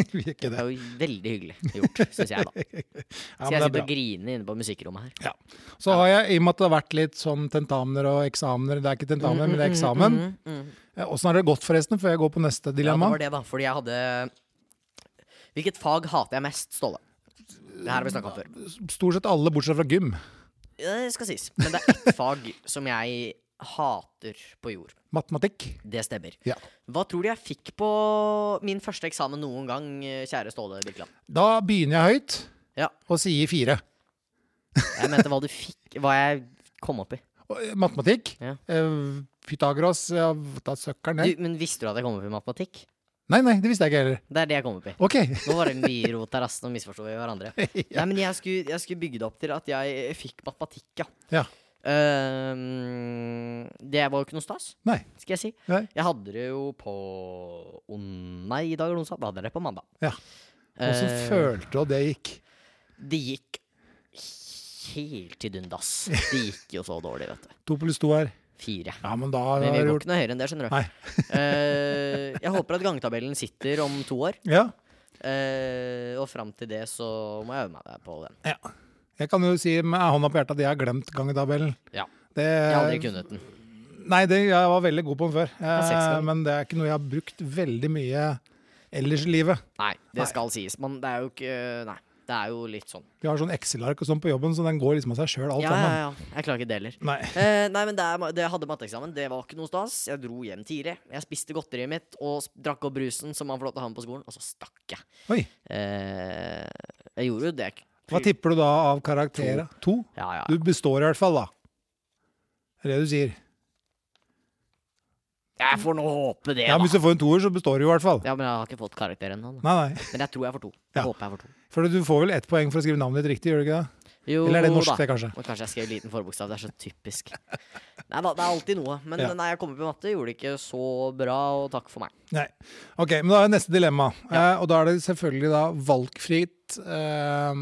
[SPEAKER 2] vi gjør ikke
[SPEAKER 1] Det
[SPEAKER 2] det.
[SPEAKER 1] er jo veldig hyggelig gjort, syns jeg, da. Skal jeg
[SPEAKER 2] Ja, men det er
[SPEAKER 1] sitte
[SPEAKER 2] bra.
[SPEAKER 1] og grine inne på musikkrommet her?
[SPEAKER 2] Så har jeg, i og med at det har vært litt sånn tentamener og eksamener Det er ikke tentamen, men det er eksamen. Eh,
[SPEAKER 1] Mm, mm, mm.
[SPEAKER 2] Åssen har det gått, forresten, før jeg går på
[SPEAKER 1] Ja,
[SPEAKER 2] neste
[SPEAKER 1] det
[SPEAKER 2] dilemma?
[SPEAKER 1] var det, da. Fordi jeg hadde Hvilket fag hater jeg mest, Ståle? Det her har vi snakka om før.
[SPEAKER 2] Stort sett alle, bortsett fra gym.
[SPEAKER 1] Det skal sies. Men det er ett fag som jeg hater på jord.
[SPEAKER 2] Matematikk.
[SPEAKER 1] Det stemmer.
[SPEAKER 2] Ja.
[SPEAKER 1] Hva tror du jeg fikk på min første eksamen noen gang, kjære Ståle Birkeland?
[SPEAKER 2] Da begynner jeg høyt
[SPEAKER 1] Ja.
[SPEAKER 2] og sier fire.
[SPEAKER 1] Jeg mente hva du fikk Hva jeg kom opp i.
[SPEAKER 2] Og, eh, Matematikk.
[SPEAKER 1] Ja.
[SPEAKER 2] Eh, Pythagoras ja, Da søkker
[SPEAKER 1] Du,
[SPEAKER 2] ned.
[SPEAKER 1] men visste du at jeg kom opp i matematikk?
[SPEAKER 2] Nei, nei, det visste jeg ikke heller.
[SPEAKER 1] Det er det jeg kom opp i.
[SPEAKER 2] OK.
[SPEAKER 1] Nå var det mye rot der, ass. Nå misforsto vi hverandre. Nei, men jeg skulle, jeg skulle bygge det opp til at jeg fikk matematikk, ja.
[SPEAKER 2] Ja.
[SPEAKER 1] Ehm, det var jo ikke noe stas,
[SPEAKER 2] Nei.
[SPEAKER 1] skal jeg si.
[SPEAKER 2] Nei.
[SPEAKER 1] Jeg hadde det jo på on... Nei, i dag er det onsdag. Da hadde jeg det på mandag.
[SPEAKER 2] Ja. Åssen
[SPEAKER 1] Eh,
[SPEAKER 2] følte du at det gikk?
[SPEAKER 1] Det gikk helt til dundas. Det gikk jo så dårlig, vet du.
[SPEAKER 2] To pluss to her.
[SPEAKER 1] Fire.
[SPEAKER 2] Ja, men da
[SPEAKER 1] Men
[SPEAKER 2] har
[SPEAKER 1] vi
[SPEAKER 2] jeg
[SPEAKER 1] går
[SPEAKER 2] gjort
[SPEAKER 1] ikke noe høyere enn det, skjønner du.
[SPEAKER 2] Nei.
[SPEAKER 1] Eh, jeg håper at gangtabellen sitter om to år.
[SPEAKER 2] Ja.
[SPEAKER 1] Eh, og fram til det så må jeg øve meg på den.
[SPEAKER 2] ja. Jeg kan jo si med hånda på hjertet at jeg har glemt gangetabellen.
[SPEAKER 1] Ja.
[SPEAKER 2] Det,
[SPEAKER 1] Jeg har
[SPEAKER 2] Eh,
[SPEAKER 1] aldri kunnet den.
[SPEAKER 2] Nei, det, jeg var veldig god på den før.
[SPEAKER 1] er seks
[SPEAKER 2] Eh,
[SPEAKER 1] ganger.
[SPEAKER 2] men det er ikke noe jeg har brukt veldig mye ellers i livet.
[SPEAKER 1] Nei,
[SPEAKER 2] Nei.
[SPEAKER 1] det skal sies. Men det er jo ikke Nei, det er jo litt sånn.
[SPEAKER 2] Vi har sånn Excel-ark og sånn på jobben, så den går liksom av seg sjøl, alt
[SPEAKER 1] Ja, ja,
[SPEAKER 2] sammen.
[SPEAKER 1] ja. Jeg klarer ikke det heller.
[SPEAKER 2] Nei.
[SPEAKER 1] Eh, nei, men det, er ma- det jeg hadde matteeksamen, det var ikke noe stas. Jeg dro hjem tidlig. Jeg spiste godteriet mitt og s- drakk opp brusen som man får lov til å ha med på skolen, og så stakk jeg.
[SPEAKER 2] Oi.
[SPEAKER 1] Eh, jeg gjorde jo det.
[SPEAKER 2] Hva tipper du da av karakterer? To?
[SPEAKER 1] Ja, ja.
[SPEAKER 2] Du består i hvert fall, da. Det er det du sier.
[SPEAKER 1] Jeg får nå håpe det, da.
[SPEAKER 2] Ja, men Hvis du får en toer, så består du i hvert fall.
[SPEAKER 1] Ja, men jeg har ikke fått karakter ennå. da.
[SPEAKER 2] Nei, nei.
[SPEAKER 1] Men jeg tror jeg får to.
[SPEAKER 2] Ja.
[SPEAKER 1] Håper jeg får to.
[SPEAKER 2] For du får vel ett poeng for å skrive navnet ditt riktig, gjør du ikke det?
[SPEAKER 1] Jo
[SPEAKER 2] Eller er det norsk,
[SPEAKER 1] da.
[SPEAKER 2] det, kanskje?
[SPEAKER 1] Og kanskje jeg skrev liten forbokstav. Det er så typisk. Nei da, det er alltid noe. Men
[SPEAKER 2] Ja.
[SPEAKER 1] nei, jeg kom opp i matte, gjorde det ikke så bra, og takk for meg.
[SPEAKER 2] Nei. Ok, men da er neste dilemma. Eh, og da er det selvfølgelig da valgfritt eh,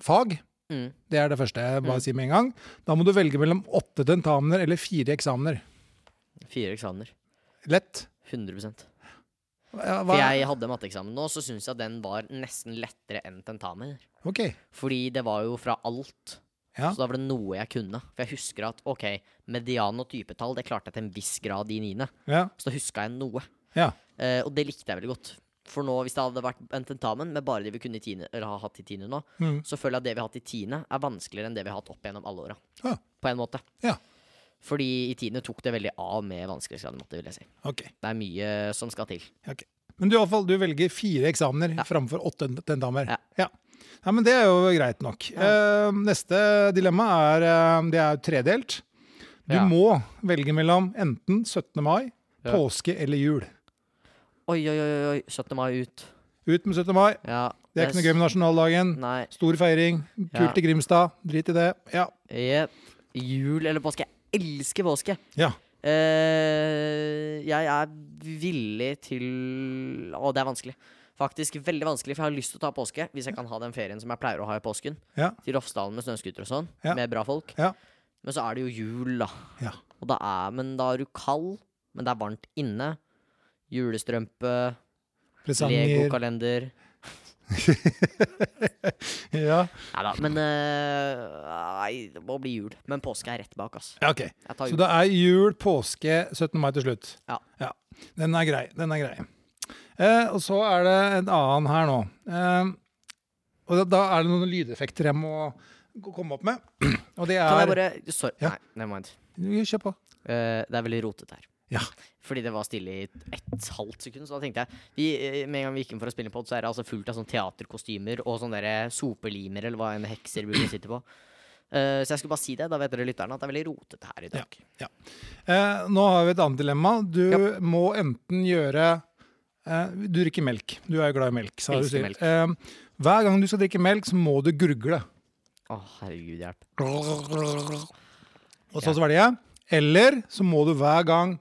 [SPEAKER 2] fag.
[SPEAKER 1] Mm.
[SPEAKER 2] Det er det første jeg bare sier med en gang. Da må du velge mellom åtte tentamener eller fire eksamener.
[SPEAKER 1] Fire eksamener.
[SPEAKER 2] Lett.
[SPEAKER 1] 100 For
[SPEAKER 2] Ja, hva?
[SPEAKER 1] jeg hadde matteeksamen nå, så syns jeg den var nesten lettere enn tentamen.
[SPEAKER 2] Ok.
[SPEAKER 1] Fordi det var jo fra alt.
[SPEAKER 2] Ja.
[SPEAKER 1] Så da var det noe jeg kunne. For jeg husker at ok, median og typetall det klarte jeg til en viss grad i niende.
[SPEAKER 2] Ja.
[SPEAKER 1] Så da huska jeg noe.
[SPEAKER 2] ja.
[SPEAKER 1] Eh, og det likte jeg veldig godt. For nå, hvis det hadde vært en tentamen med bare det vi kunne i tiende, eller har hatt i tiende nå,
[SPEAKER 2] Mm.
[SPEAKER 1] så føler jeg at det vi har hatt i tiende, er vanskeligere enn det vi har hatt opp gjennom alle åra.
[SPEAKER 2] Ja.
[SPEAKER 1] På en måte.
[SPEAKER 2] Ja.
[SPEAKER 1] Fordi i tiende tok det veldig av med vanskelighetsgraden, måtte vil jeg si.
[SPEAKER 2] Ok.
[SPEAKER 1] Det er mye som skal til.
[SPEAKER 2] ok. Men du, i alle fall, du velger fire eksamener framfor åtte tentamer.
[SPEAKER 1] Ja.
[SPEAKER 2] Ja. ja, men det er jo greit nok. Eh, neste dilemma er, eh, det er tredelt. Du
[SPEAKER 1] Ja.
[SPEAKER 2] må velge mellom enten 17. mai,
[SPEAKER 1] Ja.
[SPEAKER 2] påske eller jul.
[SPEAKER 1] Oi, oi, oi, oi, 17. mai ut.
[SPEAKER 2] Ut med 17. mai.
[SPEAKER 1] Ja.
[SPEAKER 2] Det er ikke noe gøy med nasjonaldagen.
[SPEAKER 1] Nei.
[SPEAKER 2] Stor feiring.
[SPEAKER 1] Ja.
[SPEAKER 2] Kult i Grimstad. Drit i det. Ja.
[SPEAKER 1] Jepp. Jul eller påske. Jeg elsker påske.
[SPEAKER 2] ja.
[SPEAKER 1] Eh, jeg er villig til Å, det er vanskelig. Faktisk veldig vanskelig, for jeg har lyst til å ta påske hvis jeg kan ha den ferien som jeg pleier å ha i påsken.
[SPEAKER 2] Ja.
[SPEAKER 1] Til Rofsdalen med snøscooter og sånn,
[SPEAKER 2] Ja.
[SPEAKER 1] med bra folk.
[SPEAKER 2] Ja.
[SPEAKER 1] Men så er det jo jul, da.
[SPEAKER 2] Ja.
[SPEAKER 1] Og da er, men da er du kald, men det er varmt inne. Julestrømpe,
[SPEAKER 2] Presanger.
[SPEAKER 1] legokalender
[SPEAKER 2] Ja.
[SPEAKER 1] Nei da, men eh, Nei, det må bli jul. Men påske er rett bak, ass.
[SPEAKER 2] ja, ok.
[SPEAKER 1] Jeg tar
[SPEAKER 2] Så
[SPEAKER 1] jul.
[SPEAKER 2] det er jul, påske, 17. mai til slutt.
[SPEAKER 1] Ja.
[SPEAKER 2] Den er grei. Den er grei. Eh, og så er det en annen her nå. Eh, og da, da er det noen lydeffekter jeg må k- komme opp med. Og det
[SPEAKER 1] Kan jeg
[SPEAKER 2] er
[SPEAKER 1] bare Sorry.
[SPEAKER 2] Ja.
[SPEAKER 1] Nei, never mind.
[SPEAKER 2] Jo, Kjør på.
[SPEAKER 1] Eh, det er veldig rotete her.
[SPEAKER 2] Ja.
[SPEAKER 1] Fordi det var stille i ett halvt sekund, så da tenkte jeg vi, eh, Med en gang vi gikk inn for å spille pod, så er det altså fullt av sånne teaterkostymer og sånne der sopelimer eller hva en hekser burde sitte på. Eh, så jeg skulle bare si det. Da vet dere lytterne at det er veldig rotete her i dag.
[SPEAKER 2] Eh, nå har vi et annet dilemma. Du må enten gjøre eh, Du drikker melk. Du er jo glad i melk. sa du
[SPEAKER 1] Elsker
[SPEAKER 2] selv.
[SPEAKER 1] melk.
[SPEAKER 2] Eh, hver gang du skal drikke melk, så må du gurgle.
[SPEAKER 1] Å, herregud, hjelp.
[SPEAKER 2] Og
[SPEAKER 1] Ja.
[SPEAKER 2] så svelger jeg. Eller så må du hver gang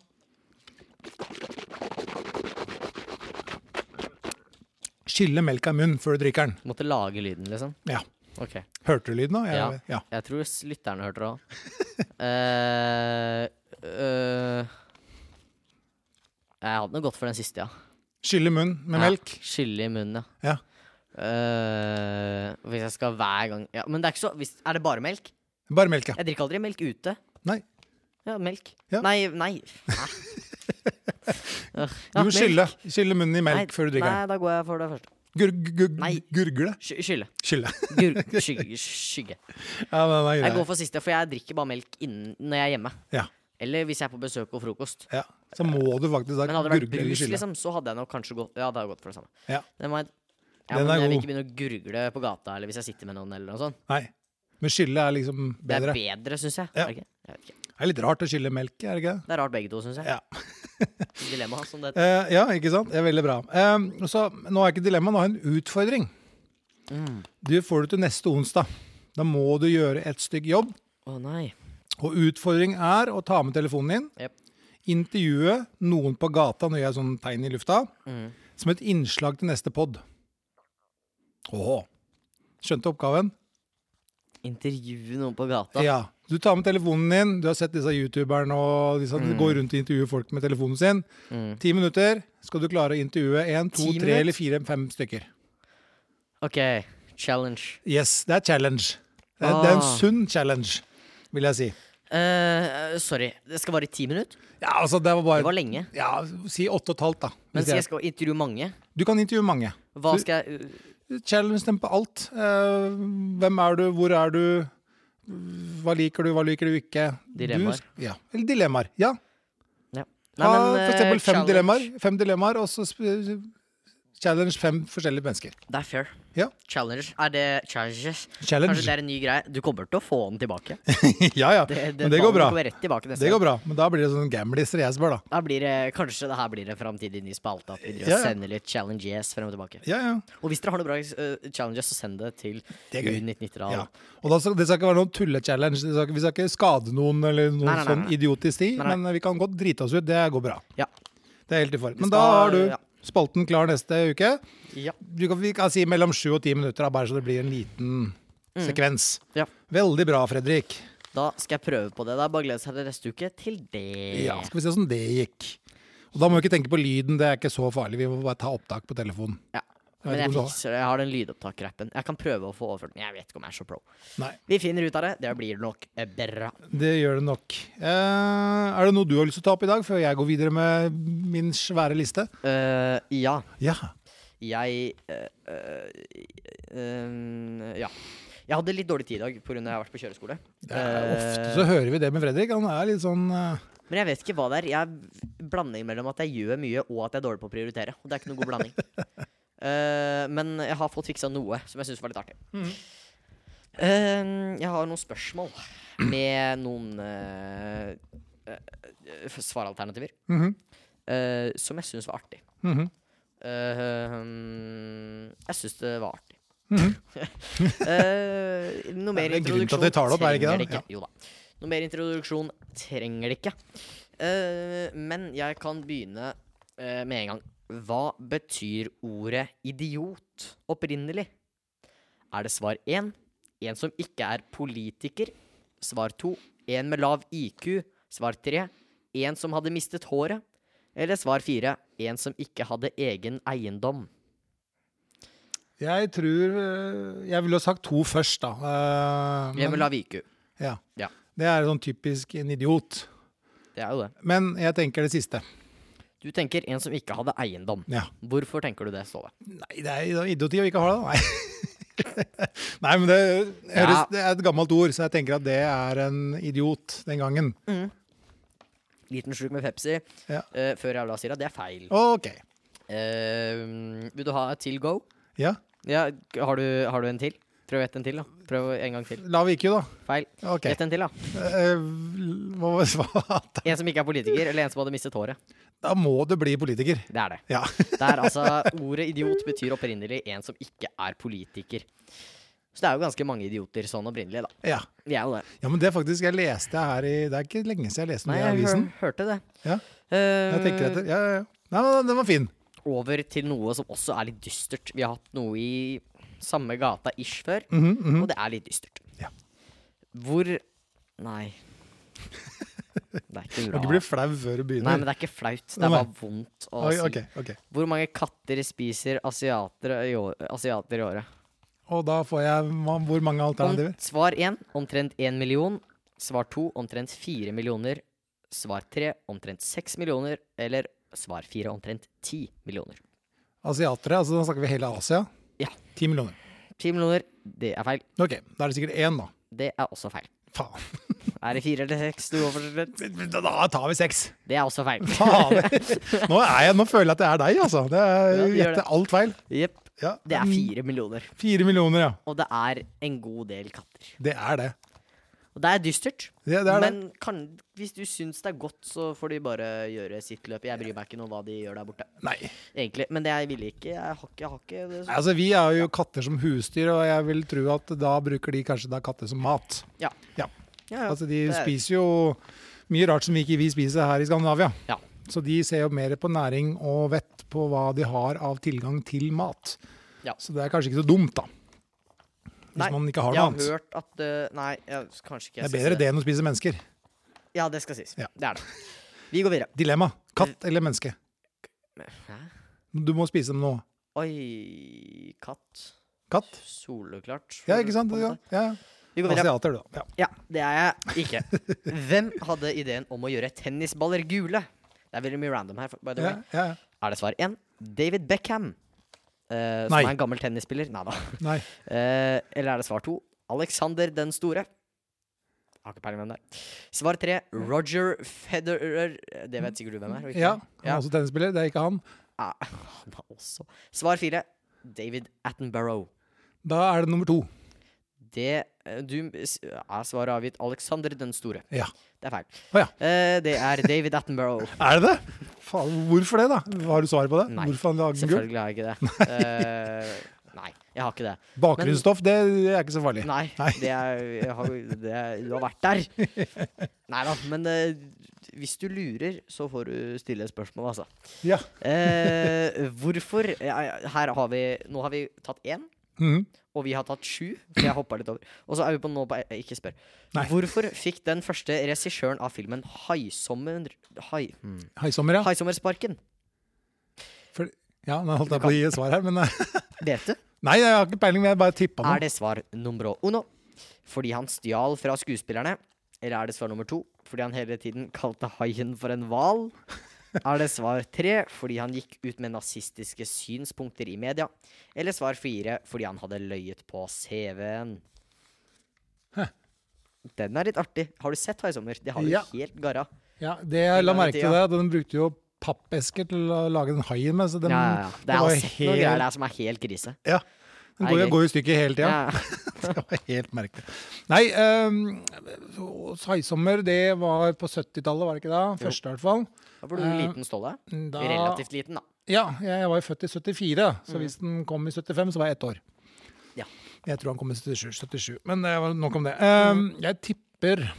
[SPEAKER 2] Skylle melka i munnen før du drikker den.
[SPEAKER 1] Måtte lage lyden, liksom.
[SPEAKER 2] Ja.
[SPEAKER 1] Ok.
[SPEAKER 2] Hørte du lyden nå? Jeg, ja.
[SPEAKER 1] Jeg tror s- lytterne hørte det òg. eh eh, jeg hadde noe godt for den siste, ja.
[SPEAKER 2] Skylle munn med
[SPEAKER 1] Ja,
[SPEAKER 2] melk.
[SPEAKER 1] Skylle i munnen, ja.
[SPEAKER 2] Ja.
[SPEAKER 1] Eh, hvis jeg skal hver gang ja, Men det er ikke så hvis, Er det bare melk?
[SPEAKER 2] Bare melk, ja.
[SPEAKER 1] Jeg drikker aldri melk ute.
[SPEAKER 2] Nei.
[SPEAKER 1] Ja, melk.
[SPEAKER 2] Ja.
[SPEAKER 1] Nei, nei. Hæ? Ja,
[SPEAKER 2] Du må
[SPEAKER 1] melk.
[SPEAKER 2] skylle, skylle munnen i melk
[SPEAKER 1] Nei,
[SPEAKER 2] før du drikker den.
[SPEAKER 1] Nei, da går jeg for det første.
[SPEAKER 2] Gur, gur,
[SPEAKER 1] Nei.
[SPEAKER 2] gurgle.
[SPEAKER 1] Sky- Skylle.
[SPEAKER 2] Skylle.
[SPEAKER 1] Gur skygge. skygge.
[SPEAKER 2] Ja, den er
[SPEAKER 1] Jeg
[SPEAKER 2] grei.
[SPEAKER 1] går for siste, for jeg drikker bare melk innen, når jeg er hjemme.
[SPEAKER 2] Ja.
[SPEAKER 1] Eller hvis jeg er på besøk og frokost.
[SPEAKER 2] Ja. Så må du faktisk da
[SPEAKER 1] Men hadde det vært
[SPEAKER 2] gurgle eller
[SPEAKER 1] brus,
[SPEAKER 2] skylle.
[SPEAKER 1] liksom, så hadde jeg nok kanskje gått Ja, det hadde gått for det samme.
[SPEAKER 2] Ja.
[SPEAKER 1] Den, var, ja, men
[SPEAKER 2] Den er
[SPEAKER 1] jeg vil
[SPEAKER 2] god.
[SPEAKER 1] ikke begynne å gurgle på gata eller hvis jeg sitter med noen. eller noe sånt
[SPEAKER 2] Nei. Men skylle er liksom
[SPEAKER 1] Det er
[SPEAKER 2] bedre.
[SPEAKER 1] bedre, syns jeg.
[SPEAKER 2] Ja.
[SPEAKER 1] Er det ikke? Jeg vet ikke.
[SPEAKER 2] Det er litt rart å skylle melk, er det ikke? det?
[SPEAKER 1] Det er rart begge to, syns jeg.
[SPEAKER 2] Ja.
[SPEAKER 1] Dilemma, som det heter.
[SPEAKER 2] Eh, ja, ikke sant? Det er veldig bra. Eh, så nå er ikke dilemmaet, nå har jeg en utfordring.
[SPEAKER 1] Mm.
[SPEAKER 2] Du får det til neste onsdag. Da må du gjøre et stygg jobb.
[SPEAKER 1] Å nei.
[SPEAKER 2] Og utfordring er å ta med telefonen din,
[SPEAKER 1] Jep.
[SPEAKER 2] intervjue noen på gata når jeg er sånn tegn i lufta,
[SPEAKER 1] Mm.
[SPEAKER 2] som et innslag til neste pod. Åh, skjønte oppgaven?
[SPEAKER 1] Intervjue noen på gata.
[SPEAKER 2] Ja. Du tar med telefonen din, du har sett disse youtuberne og disse, du går rundt og intervjuer folk med telefonen sin.
[SPEAKER 1] Mm.
[SPEAKER 2] Ti minutter skal du klare å intervjue én, to,
[SPEAKER 1] Ti
[SPEAKER 2] tre eller fire, fem stykker.
[SPEAKER 1] OK. Challenge.
[SPEAKER 2] Yes, det er challenge. Det er, det er en
[SPEAKER 1] Ah.
[SPEAKER 2] sunn challenge, vil jeg si.
[SPEAKER 1] Eh, sorry. Det skal vare i ti minutter?
[SPEAKER 2] Ja, altså, det var
[SPEAKER 1] Det
[SPEAKER 2] bare
[SPEAKER 1] var lenge.
[SPEAKER 2] ja, Si åtte og et halvt, da.
[SPEAKER 1] Men så
[SPEAKER 2] hvis jeg-
[SPEAKER 1] jeg skal intervjue mange.
[SPEAKER 2] Du kan intervjue mange.
[SPEAKER 1] Hva
[SPEAKER 2] Du-
[SPEAKER 1] skal jeg
[SPEAKER 2] Challenge dem på alt. Eh, hvem er du, hvor er du, hva liker du, hva liker du ikke?
[SPEAKER 1] Dilemmaer.
[SPEAKER 2] Du, ja. Eller dilemmaer, ja.
[SPEAKER 1] ja.
[SPEAKER 2] Ha for
[SPEAKER 1] eh,
[SPEAKER 2] eksempel fem
[SPEAKER 1] challenge.
[SPEAKER 2] dilemmaer, fem dilemmaer, og så sp- challenge fem forskjellige mennesker.
[SPEAKER 1] Det er fair.
[SPEAKER 2] Ja.
[SPEAKER 1] Challenge. Er det challenges? Kanskje det
[SPEAKER 2] Challenge.
[SPEAKER 1] er en ny greie. Du kommer til å få den tilbake.
[SPEAKER 2] ja, ja.
[SPEAKER 1] Det,
[SPEAKER 2] Men det går bra.
[SPEAKER 1] Kommer rett tilbake neste
[SPEAKER 2] Det går bra, men da blir det sånn gamliser jeg spør, da.
[SPEAKER 1] Da blir det, kanskje det her blir en framtidig ny spalte. At vi driver
[SPEAKER 2] Ja,
[SPEAKER 1] og
[SPEAKER 2] ja.
[SPEAKER 1] sender litt challenges frem og tilbake.
[SPEAKER 2] Ja, ja.
[SPEAKER 1] Og hvis dere har noen bra eh, challenges, så send det til
[SPEAKER 2] Det er gøy.
[SPEAKER 1] U1990-tall.
[SPEAKER 2] ja. Og da skal, det skal ikke være noen tulle-challenge. Det skal, ikke- vi skal ikke skade noen eller noe
[SPEAKER 1] Nei, nei, nei,
[SPEAKER 2] sånn
[SPEAKER 1] nei.
[SPEAKER 2] idiotisk tid,
[SPEAKER 1] Nei, nei.
[SPEAKER 2] men vi kan godt drite oss ut. Det går bra.
[SPEAKER 1] Ja.
[SPEAKER 2] Det er helt i form. Men
[SPEAKER 1] skal-
[SPEAKER 2] da har du
[SPEAKER 1] ja.
[SPEAKER 2] spalten klar neste uke.
[SPEAKER 1] Ja.
[SPEAKER 2] Du kan, vi kan si mellom sju og ti minutter, da, bare så det blir en liten
[SPEAKER 1] Mm.
[SPEAKER 2] sekvens.
[SPEAKER 1] Ja.
[SPEAKER 2] Veldig bra, Fredrik.
[SPEAKER 1] Da skal jeg prøve på det. Det er bare å glede seg til neste uke til det.
[SPEAKER 2] Ja, skal vi se åssen det gikk. Og da må vi ikke tenke på lyden, det er ikke så farlig. Vi må bare ta opptak på telefonen.
[SPEAKER 1] Ja.
[SPEAKER 2] vet
[SPEAKER 1] Men
[SPEAKER 2] ikke
[SPEAKER 1] jeg
[SPEAKER 2] om du har-
[SPEAKER 1] fikser det. Jeg har den lydopptakerappen. Jeg kan prøve å få overført den. Jeg vet ikke om jeg er så pro.
[SPEAKER 2] Nei,
[SPEAKER 1] Vi finner ut av det. Det blir nok eh, bra.
[SPEAKER 2] det gjør det nok. Eh, er det noe du har lyst til å ta opp i dag, før jeg går videre med min svære liste?
[SPEAKER 1] Eh, ja.
[SPEAKER 2] Ja.
[SPEAKER 1] Jeg eh, eh, eh, Ja. Jeg hadde litt dårlig tid i dag pga. jeg har vært på kjøreskole.
[SPEAKER 2] Det er, ofte
[SPEAKER 1] Eh,
[SPEAKER 2] så hører vi det med Fredrik. Han er litt sånn eh,
[SPEAKER 1] Men jeg vet ikke hva det er. Jeg blander mellom at jeg gjør mye, og at jeg er dårlig på å prioritere. Og det er ikke noen god blanding. Eh, men jeg har fått fiksa noe som jeg syns var litt artig. Eh, jeg har noen spørsmål med noen eh, eh, eh, svaralternativer
[SPEAKER 2] mhm,
[SPEAKER 1] eh, som jeg syns var artig.
[SPEAKER 2] mhm.
[SPEAKER 1] Eh, hmm, jeg syns det var artig.
[SPEAKER 2] Mhm.
[SPEAKER 1] Eh, noe mer
[SPEAKER 2] Det er grunnen til
[SPEAKER 1] introduksjon
[SPEAKER 2] at vi tar det opp, er det ikke
[SPEAKER 1] trenger
[SPEAKER 2] det?
[SPEAKER 1] det ikke. Jo da. Noe mer introduksjon trenger det ikke. Eh, men jeg kan begynne eh, med en gang. Hva betyr ordet idiot opprinnelig? Er det svar én, en som ikke er politiker? Svar to, en med lav IQ? Svar tre, en som hadde mistet håret? Eller svar fire, en som ikke hadde egen eiendom?
[SPEAKER 2] Jeg tror eh, Jeg ville ha sagt to først, da.
[SPEAKER 1] En
[SPEAKER 2] Eh,
[SPEAKER 1] med
[SPEAKER 2] men,
[SPEAKER 1] lav IQ.
[SPEAKER 2] ja.
[SPEAKER 1] Ja.
[SPEAKER 2] Det er sånn typisk en idiot.
[SPEAKER 1] Det er jo det.
[SPEAKER 2] Men jeg tenker det siste.
[SPEAKER 1] Du tenker en som ikke hadde eiendom.
[SPEAKER 2] Ja.
[SPEAKER 1] Hvorfor tenker du det, Ståle?
[SPEAKER 2] Nei, det er idioti å ikke ha det. Nei, Nei men det, høres,
[SPEAKER 1] Ja.
[SPEAKER 2] det er et gammelt ord, så jeg tenker at det er en idiot den gangen.
[SPEAKER 1] Liten slurk med Pepsi
[SPEAKER 2] Ja.
[SPEAKER 1] eh, før jeg la sier at det er feil.
[SPEAKER 2] OK.
[SPEAKER 1] Eh, vil du ha et til go?
[SPEAKER 2] Ja.
[SPEAKER 1] Ja, har du, har du en til? Prøv et en til, da. Prøv en gang til.
[SPEAKER 2] Lav IQ, da.
[SPEAKER 1] Feil.
[SPEAKER 2] OK.
[SPEAKER 1] Et en til, da.
[SPEAKER 2] Eh, Hva var svaret?
[SPEAKER 1] En som ikke er politiker, eller en som hadde mistet håret.
[SPEAKER 2] Da må det bli politiker.
[SPEAKER 1] Det er det.
[SPEAKER 2] Ja.
[SPEAKER 1] Det er altså, Ordet idiot betyr opprinnelig en som ikke er politiker. Så det er jo ganske mange idioter sånn opprinnelig, da.
[SPEAKER 2] ja.
[SPEAKER 1] Vi er jo det.
[SPEAKER 2] Ja, men det faktisk jeg leste her i Det er ikke lenge siden jeg leste den
[SPEAKER 1] Nei,
[SPEAKER 2] i
[SPEAKER 1] jeg
[SPEAKER 2] avisen.
[SPEAKER 1] hør- hørte det.
[SPEAKER 2] Ja.
[SPEAKER 1] Eh,
[SPEAKER 2] Jeg tenker etter. Ja, ja, ja. Nei, men den var fin.
[SPEAKER 1] over til noe som også er litt dystert. Vi har hatt noe i samme gata ish før,
[SPEAKER 2] Mhm, mhm.
[SPEAKER 1] og det er litt dystert.
[SPEAKER 2] Ja.
[SPEAKER 1] Hvor Nei. Det er ikke
[SPEAKER 2] Du
[SPEAKER 1] bra.
[SPEAKER 2] blir flau
[SPEAKER 1] Nei,
[SPEAKER 2] før du
[SPEAKER 1] men
[SPEAKER 2] begynner.
[SPEAKER 1] det er ikke flaut. Det
[SPEAKER 2] Nei.
[SPEAKER 1] er bare vondt å
[SPEAKER 2] Oi,
[SPEAKER 1] si.
[SPEAKER 2] ok, ok.
[SPEAKER 1] Hvor mange katter spiser asiater i år- asiater i året?
[SPEAKER 2] Og da får jeg hva- hvor mange
[SPEAKER 1] Om,
[SPEAKER 2] alternativer?
[SPEAKER 1] svar én omtrent én million. Svar to omtrent fire millioner. Svar tre omtrent seks millioner. Eller svar fire omtrent ti millioner.
[SPEAKER 2] Asiatere, altså da snakker vi hele Asia.
[SPEAKER 1] Ja.
[SPEAKER 2] Ti millioner.
[SPEAKER 1] Ti millioner, det er feil.
[SPEAKER 2] Ok, da er det sikkert én, da.
[SPEAKER 1] Det er også feil.
[SPEAKER 2] Faen.
[SPEAKER 1] Er det fire eller seks du går for til slutt?
[SPEAKER 2] Da tar vi seks.
[SPEAKER 1] Det er også feil.
[SPEAKER 2] Fader. Nå, er jeg, nå føler jeg at det er deg, altså. Det er,
[SPEAKER 1] Ja, du gjør
[SPEAKER 2] gjetter alt feil.
[SPEAKER 1] Jepp.
[SPEAKER 2] Ja. Mm,
[SPEAKER 1] Det er fire millioner.
[SPEAKER 2] Fire millioner, ja.
[SPEAKER 1] Og det er en god del katter.
[SPEAKER 2] Det er det.
[SPEAKER 1] Og det er dystert.
[SPEAKER 2] Det, det er
[SPEAKER 1] men kan, hvis du syns det er godt, så får de bare gjøre sitt løp. Jeg bryr meg ikke noe om hva de gjør der borte.
[SPEAKER 2] det. Nei.
[SPEAKER 1] Egentlig. Men det jeg ville ikke. Jeg har ikke, jeg har ikke det.
[SPEAKER 2] Nei, Altså, vi er jo katter som husdyr, og jeg vil tro at da bruker de kanskje da katter som mat.
[SPEAKER 1] Ja.
[SPEAKER 2] Ja.
[SPEAKER 1] Ja, ja.
[SPEAKER 2] Altså, de
[SPEAKER 1] Det er-
[SPEAKER 2] spiser jo mye rart som ikke vi spiser her i Skandinavia.
[SPEAKER 1] Ja.
[SPEAKER 2] Så de ser jo mer på næring og vett på hva de har av tilgang til mat.
[SPEAKER 1] Ja.
[SPEAKER 2] Så det er kanskje ikke så dumt, da. Hvis
[SPEAKER 1] Nei,
[SPEAKER 2] man ikke har
[SPEAKER 1] Jeg
[SPEAKER 2] noe
[SPEAKER 1] har
[SPEAKER 2] annet.
[SPEAKER 1] hørt at eh, Nei, jeg, kanskje ikke. jeg
[SPEAKER 2] Det er
[SPEAKER 1] skal si
[SPEAKER 2] bedre det enn å spise mennesker.
[SPEAKER 1] Ja, det skal sies.
[SPEAKER 2] Ja.
[SPEAKER 1] Det er det. Vi går videre.
[SPEAKER 2] Dilemma. Katt eller menneske?
[SPEAKER 1] Hæ?
[SPEAKER 2] Du må spise dem nå.
[SPEAKER 1] Oi Katt.
[SPEAKER 2] Katt?
[SPEAKER 1] Soleklart.
[SPEAKER 2] Ja, ikke sant?
[SPEAKER 1] på en
[SPEAKER 2] Ja,
[SPEAKER 1] måte.
[SPEAKER 2] ja.
[SPEAKER 1] Vi går videre.
[SPEAKER 2] Asiater, du, da. Ja.
[SPEAKER 1] Ja, det er jeg ikke. Hvem hadde ideen om å gjøre tennisballer gule? Det er veldig mye random her. By the
[SPEAKER 2] Ja,
[SPEAKER 1] way.
[SPEAKER 2] ja.
[SPEAKER 1] Er det svar én? David Beckham. eh, som
[SPEAKER 2] Nei.
[SPEAKER 1] er en gammel tennisspiller. Nei da.
[SPEAKER 2] Nei.
[SPEAKER 1] Eh, eller er det svar to? Alexander den store. Jeg har ikke peiling hvem det er. Svar tre. Roger Federer. Det vet sikkert du hvem er. og ikke
[SPEAKER 2] Ja,
[SPEAKER 1] jeg.
[SPEAKER 2] han er også tennisspiller. Det er ikke han.
[SPEAKER 1] Ah, han er også Svar fire. David Attenborough.
[SPEAKER 2] Da er det nummer to.
[SPEAKER 1] Det eh, du, s- er svaret avgitt Alexander den store.
[SPEAKER 2] Ja.
[SPEAKER 1] Det er feil.
[SPEAKER 2] Å ja.
[SPEAKER 1] Eh, det er David Attenborough.
[SPEAKER 2] Er det det? Faen, hvorfor det, da? Har du svaret på det?
[SPEAKER 1] Nei,
[SPEAKER 2] Hvorfor han lager den gul?
[SPEAKER 1] Selvfølgelig har jeg ikke det. Eh, nei, jeg har ikke det.
[SPEAKER 2] Bakgrunnsstoff, det, det er ikke så farlig.
[SPEAKER 1] Nei,
[SPEAKER 2] Nei.
[SPEAKER 1] Det er, jeg har, det er, du har vært der. Nei da, men eh, hvis du lurer, så får du stille et spørsmål, altså.
[SPEAKER 2] Ja.
[SPEAKER 1] Eh, hvorfor ja, ja, Her har vi Nå har vi tatt én,
[SPEAKER 2] Mhm.
[SPEAKER 1] og vi har tatt sju. For jeg hoppa litt over. Og så er vi på nå på eh, Ikke spør.
[SPEAKER 2] Nei.
[SPEAKER 1] Hvorfor fikk den første regissøren av filmen 'Haisommer', hai,
[SPEAKER 2] Mm. Haisommer, ja.
[SPEAKER 1] 'Haisommersparken'?
[SPEAKER 2] For, ja, nå holdt jeg på å gi et svar her, men eh,
[SPEAKER 1] Vet du?
[SPEAKER 2] Nei, jeg har ikke peiling, men jeg bare tippa
[SPEAKER 1] Er
[SPEAKER 2] noe.
[SPEAKER 1] det svar nummer uno fordi han stjal fra skuespillerne? Eller er det svar nummer to fordi han hele tiden kalte haien for en hval? Er det svar tre fordi han gikk ut med nazistiske synspunkter i media? Eller svar fire fordi han hadde løyet på CV-en? Den er litt artig. Har du sett Haisommer? Det har du
[SPEAKER 2] Ja.
[SPEAKER 1] helt garra.
[SPEAKER 2] Ja, det jeg la
[SPEAKER 1] En gang i
[SPEAKER 2] merke til det, at den brukte jo pappesker til å lage den haien med, så den,
[SPEAKER 1] Ja, ja, ja. Det
[SPEAKER 2] det
[SPEAKER 1] er
[SPEAKER 2] var
[SPEAKER 1] også noen
[SPEAKER 2] helt,
[SPEAKER 1] greier der som er helt krise.
[SPEAKER 2] Ja. Den
[SPEAKER 1] Nei,
[SPEAKER 2] går, jo-
[SPEAKER 1] gøy.
[SPEAKER 2] går jo i stykker hele tida.
[SPEAKER 1] Ja.
[SPEAKER 2] Det var helt merkelig. Nei, um, Haisommer, det var på 70-tallet, var det ikke da? Første, i hvert fall.
[SPEAKER 1] Da var du liten, Ståle.
[SPEAKER 2] Eh, Da,
[SPEAKER 1] Relativt liten, da.
[SPEAKER 2] Ja, jeg var jo født i 74, så hvis den kom i 75, så var jeg ett år.
[SPEAKER 1] Mm. Ja. Mm.
[SPEAKER 2] Jeg tror han kom i 77, 77 men det var nok om det. Ehm, jeg tipper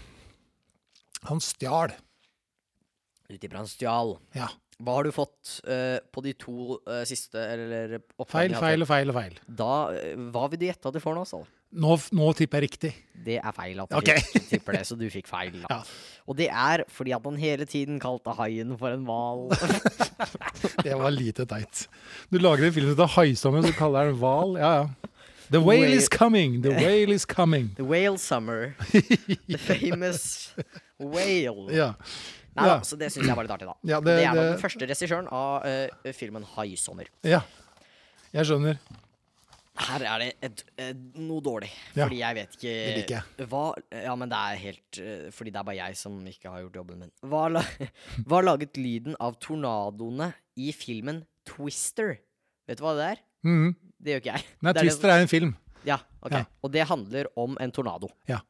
[SPEAKER 2] han stjal.
[SPEAKER 1] Ut ifra en stjal.
[SPEAKER 2] Ja.
[SPEAKER 1] Hva har du fått eh, på de to eh, siste eller
[SPEAKER 2] Feil,
[SPEAKER 1] oppgavene jeg har
[SPEAKER 2] feil og feil og feil.
[SPEAKER 1] fått? Da, eh, hva vil du gjette at du får nå, Ståle?
[SPEAKER 2] Nå, f- nå tipper jeg riktig.
[SPEAKER 1] Det er feil at du
[SPEAKER 2] Ok.
[SPEAKER 1] fikk- tipper det, så du fikk feil. Da.
[SPEAKER 2] Ja.
[SPEAKER 1] Og det er fordi at han hele tiden kalte haien for en hval.
[SPEAKER 2] Det var lite teit. Du lager en film ut av haisommer, så kaller jeg den hval. Ja, ja. The whale is coming! The whale is coming!
[SPEAKER 1] The whale summer. The famous whale.
[SPEAKER 2] Ja.
[SPEAKER 1] Nei, da,
[SPEAKER 2] ja.
[SPEAKER 1] så det syns jeg var litt artig, da.
[SPEAKER 2] Ja,
[SPEAKER 1] det,
[SPEAKER 2] det-
[SPEAKER 1] er da den
[SPEAKER 2] det-
[SPEAKER 1] første regissøren av eh, filmen 'Haisommer'.
[SPEAKER 2] ja. Jeg skjønner.
[SPEAKER 1] Her er det et, eh, noe dårlig.
[SPEAKER 2] Ja.
[SPEAKER 1] Fordi jeg vet ikke
[SPEAKER 2] Det liker
[SPEAKER 1] Hva, ja, men det er helt eh, Fordi det er bare jeg som ikke har gjort jobben min. Hva, la, hva laget lyden av tornadoene i filmen Twister? Vet du hva det er?
[SPEAKER 2] Mhm.
[SPEAKER 1] Det gjør ikke jeg.
[SPEAKER 2] Nei,
[SPEAKER 1] Det er det
[SPEAKER 2] Twister er en film.
[SPEAKER 1] som- ja, ok.
[SPEAKER 2] Ja.
[SPEAKER 1] Og det handler om en tornado.
[SPEAKER 2] Ja.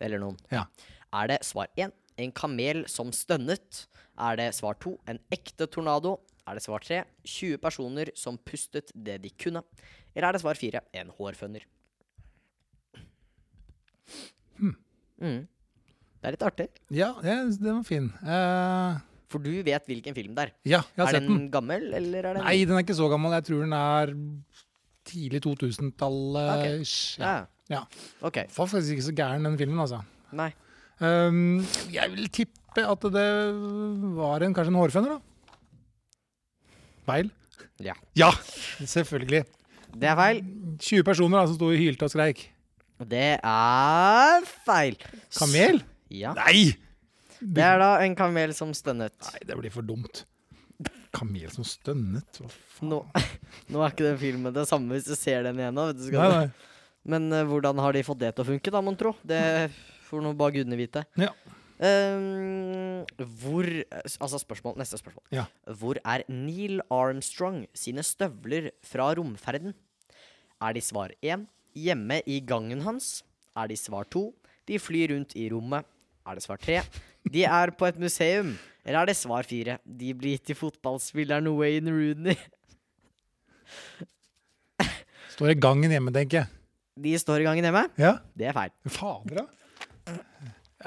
[SPEAKER 1] Eller noen.
[SPEAKER 2] Ja.
[SPEAKER 1] Er det svar én en kamel som stønnet? Er det svar to en ekte tornado? Er det svar tre 20 personer som pustet det de kunne? Eller er det svar fire en hårfønner?
[SPEAKER 2] Hmm.
[SPEAKER 1] Mm. Det er litt artig,
[SPEAKER 2] Ja, det- den var fin. Eh,
[SPEAKER 1] for du vet hvilken film det er.
[SPEAKER 2] ja, jeg har
[SPEAKER 1] er
[SPEAKER 2] sett den.
[SPEAKER 1] den gammel, eller er den
[SPEAKER 2] Nei, den er ikke så gammel. Jeg tror den er tidlig 2000-tallet. ish. Ja.
[SPEAKER 1] Ja.
[SPEAKER 2] ja.
[SPEAKER 1] OK.
[SPEAKER 2] Var faktisk ikke så gæren, den filmen, altså.
[SPEAKER 1] Nei.
[SPEAKER 2] Um, jeg vil tippe oppi at det var en, kanskje en hårføner, da? Feil?
[SPEAKER 1] Ja.
[SPEAKER 2] Ja, selvfølgelig.
[SPEAKER 1] Det er feil.
[SPEAKER 2] 20 personer da, som sto og hylte og skreik.
[SPEAKER 1] Det er feil. S-
[SPEAKER 2] Kamel?
[SPEAKER 1] Ja.
[SPEAKER 2] Nei!
[SPEAKER 1] Det er da en kamel som stønnet.
[SPEAKER 2] Nei, det blir for dumt. Kamel som stønnet? Hva faen?
[SPEAKER 1] Nå, nå er ikke den filmen det samme hvis du ser den igjen. da, Vet du, skal
[SPEAKER 2] Nei,
[SPEAKER 1] du-
[SPEAKER 2] nei.
[SPEAKER 1] Men eh, hvordan har de fått det til å funke, da, mon tro? Det får nå bare gudene vite.
[SPEAKER 2] Ja.
[SPEAKER 1] Ehm, hvor Altså, spørsmål, neste spørsmål.
[SPEAKER 2] Ja.
[SPEAKER 1] Hvor er Neil Armstrong sine støvler fra romferden? Er de svar én hjemme i gangen hans? Er de svar to de flyr rundt i rommet? Er det svar tre de er på et museum? Eller er det svar fire de blir gitt til fotballspilleren Wayne Rooney?
[SPEAKER 2] Står i gangen hjemme, tenker jeg.
[SPEAKER 1] De står i gangen hjemme.
[SPEAKER 2] Ja.
[SPEAKER 1] Det er feil.
[SPEAKER 2] Fader, da.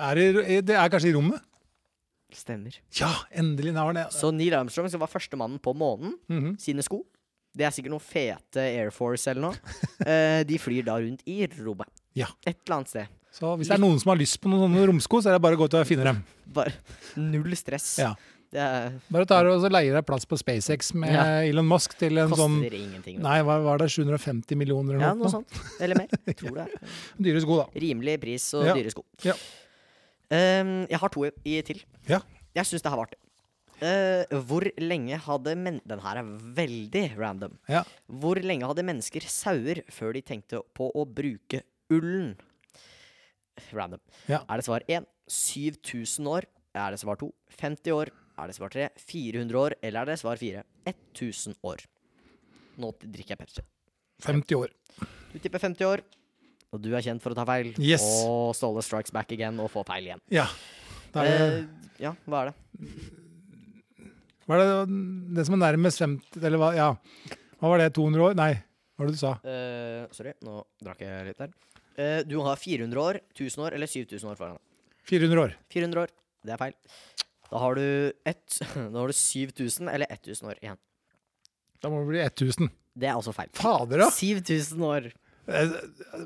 [SPEAKER 2] Er det, det er kanskje i rommet?
[SPEAKER 1] Stemmer.
[SPEAKER 2] Ja, endelig. Nå var det
[SPEAKER 1] Så Neil Armstrong, som var førstemannen på månen,
[SPEAKER 2] Mhm.
[SPEAKER 1] sine sko Det er sikkert noen fete Air Force eller noe. Eh, de flyr da rundt i rommet.
[SPEAKER 2] Ja.
[SPEAKER 1] Et eller annet sted.
[SPEAKER 2] Så hvis det er noen som har lyst på noen sånne romsko, så er det bare å gå til og finne dem.
[SPEAKER 1] Bare null stress.
[SPEAKER 2] Ja.
[SPEAKER 1] Det er,
[SPEAKER 2] Bare tar og så leier deg plass på SpaceX med
[SPEAKER 1] Ja.
[SPEAKER 2] Elon Musk til en
[SPEAKER 1] koster
[SPEAKER 2] sånn
[SPEAKER 1] ingenting. vet
[SPEAKER 2] Nei, hva var det? 750 millioner
[SPEAKER 1] du.
[SPEAKER 2] eller
[SPEAKER 1] ja,
[SPEAKER 2] noe?
[SPEAKER 1] noe
[SPEAKER 2] sånt?
[SPEAKER 1] sånt. Eller mer. Jeg tror det. er.
[SPEAKER 2] Dyre sko, da.
[SPEAKER 1] Rimelig pris og
[SPEAKER 2] Ja.
[SPEAKER 1] dyre sko.
[SPEAKER 2] Ja.
[SPEAKER 1] Ehm, jeg har to i, i til.
[SPEAKER 2] Ja.
[SPEAKER 1] Jeg syns det her var artig. Eh, hvor lenge hadde men Den her er veldig random.
[SPEAKER 2] Ja.
[SPEAKER 1] Hvor lenge hadde mennesker sauer før de tenkte på å bruke ullen? Random.
[SPEAKER 2] Ja.
[SPEAKER 1] Er det svar 1 7000 år? Er det svar 2 50 år? Er det svar 3 400 år? Eller er det svar 4 1000 år? Nå drikker jeg Pepsi.
[SPEAKER 2] 50 år.
[SPEAKER 1] Du tipper 50 år, og du er kjent for å ta feil.
[SPEAKER 2] Yes.
[SPEAKER 1] Og Ståle strikes back again og får feil igjen.
[SPEAKER 2] Ja. Da er det,
[SPEAKER 1] Eh, ja, hva er det?
[SPEAKER 2] hva er det, det som er nærmest 50 Eller hva? Ja. Hva var det? 200 år? Nei, hva var det du sa?
[SPEAKER 1] Eh, sorry, nå drakk jeg litt der. Eh, du har 400 år, 1000 år eller 7000 år foran deg.
[SPEAKER 2] 400 år.
[SPEAKER 1] 400 år. Det er feil. Da har du, ett- da har du 7000 eller 1000 år igjen.
[SPEAKER 2] Da må det bli 1000.
[SPEAKER 1] Det er også feil.
[SPEAKER 2] Fader, da!
[SPEAKER 1] 7000 år.
[SPEAKER 2] Eh,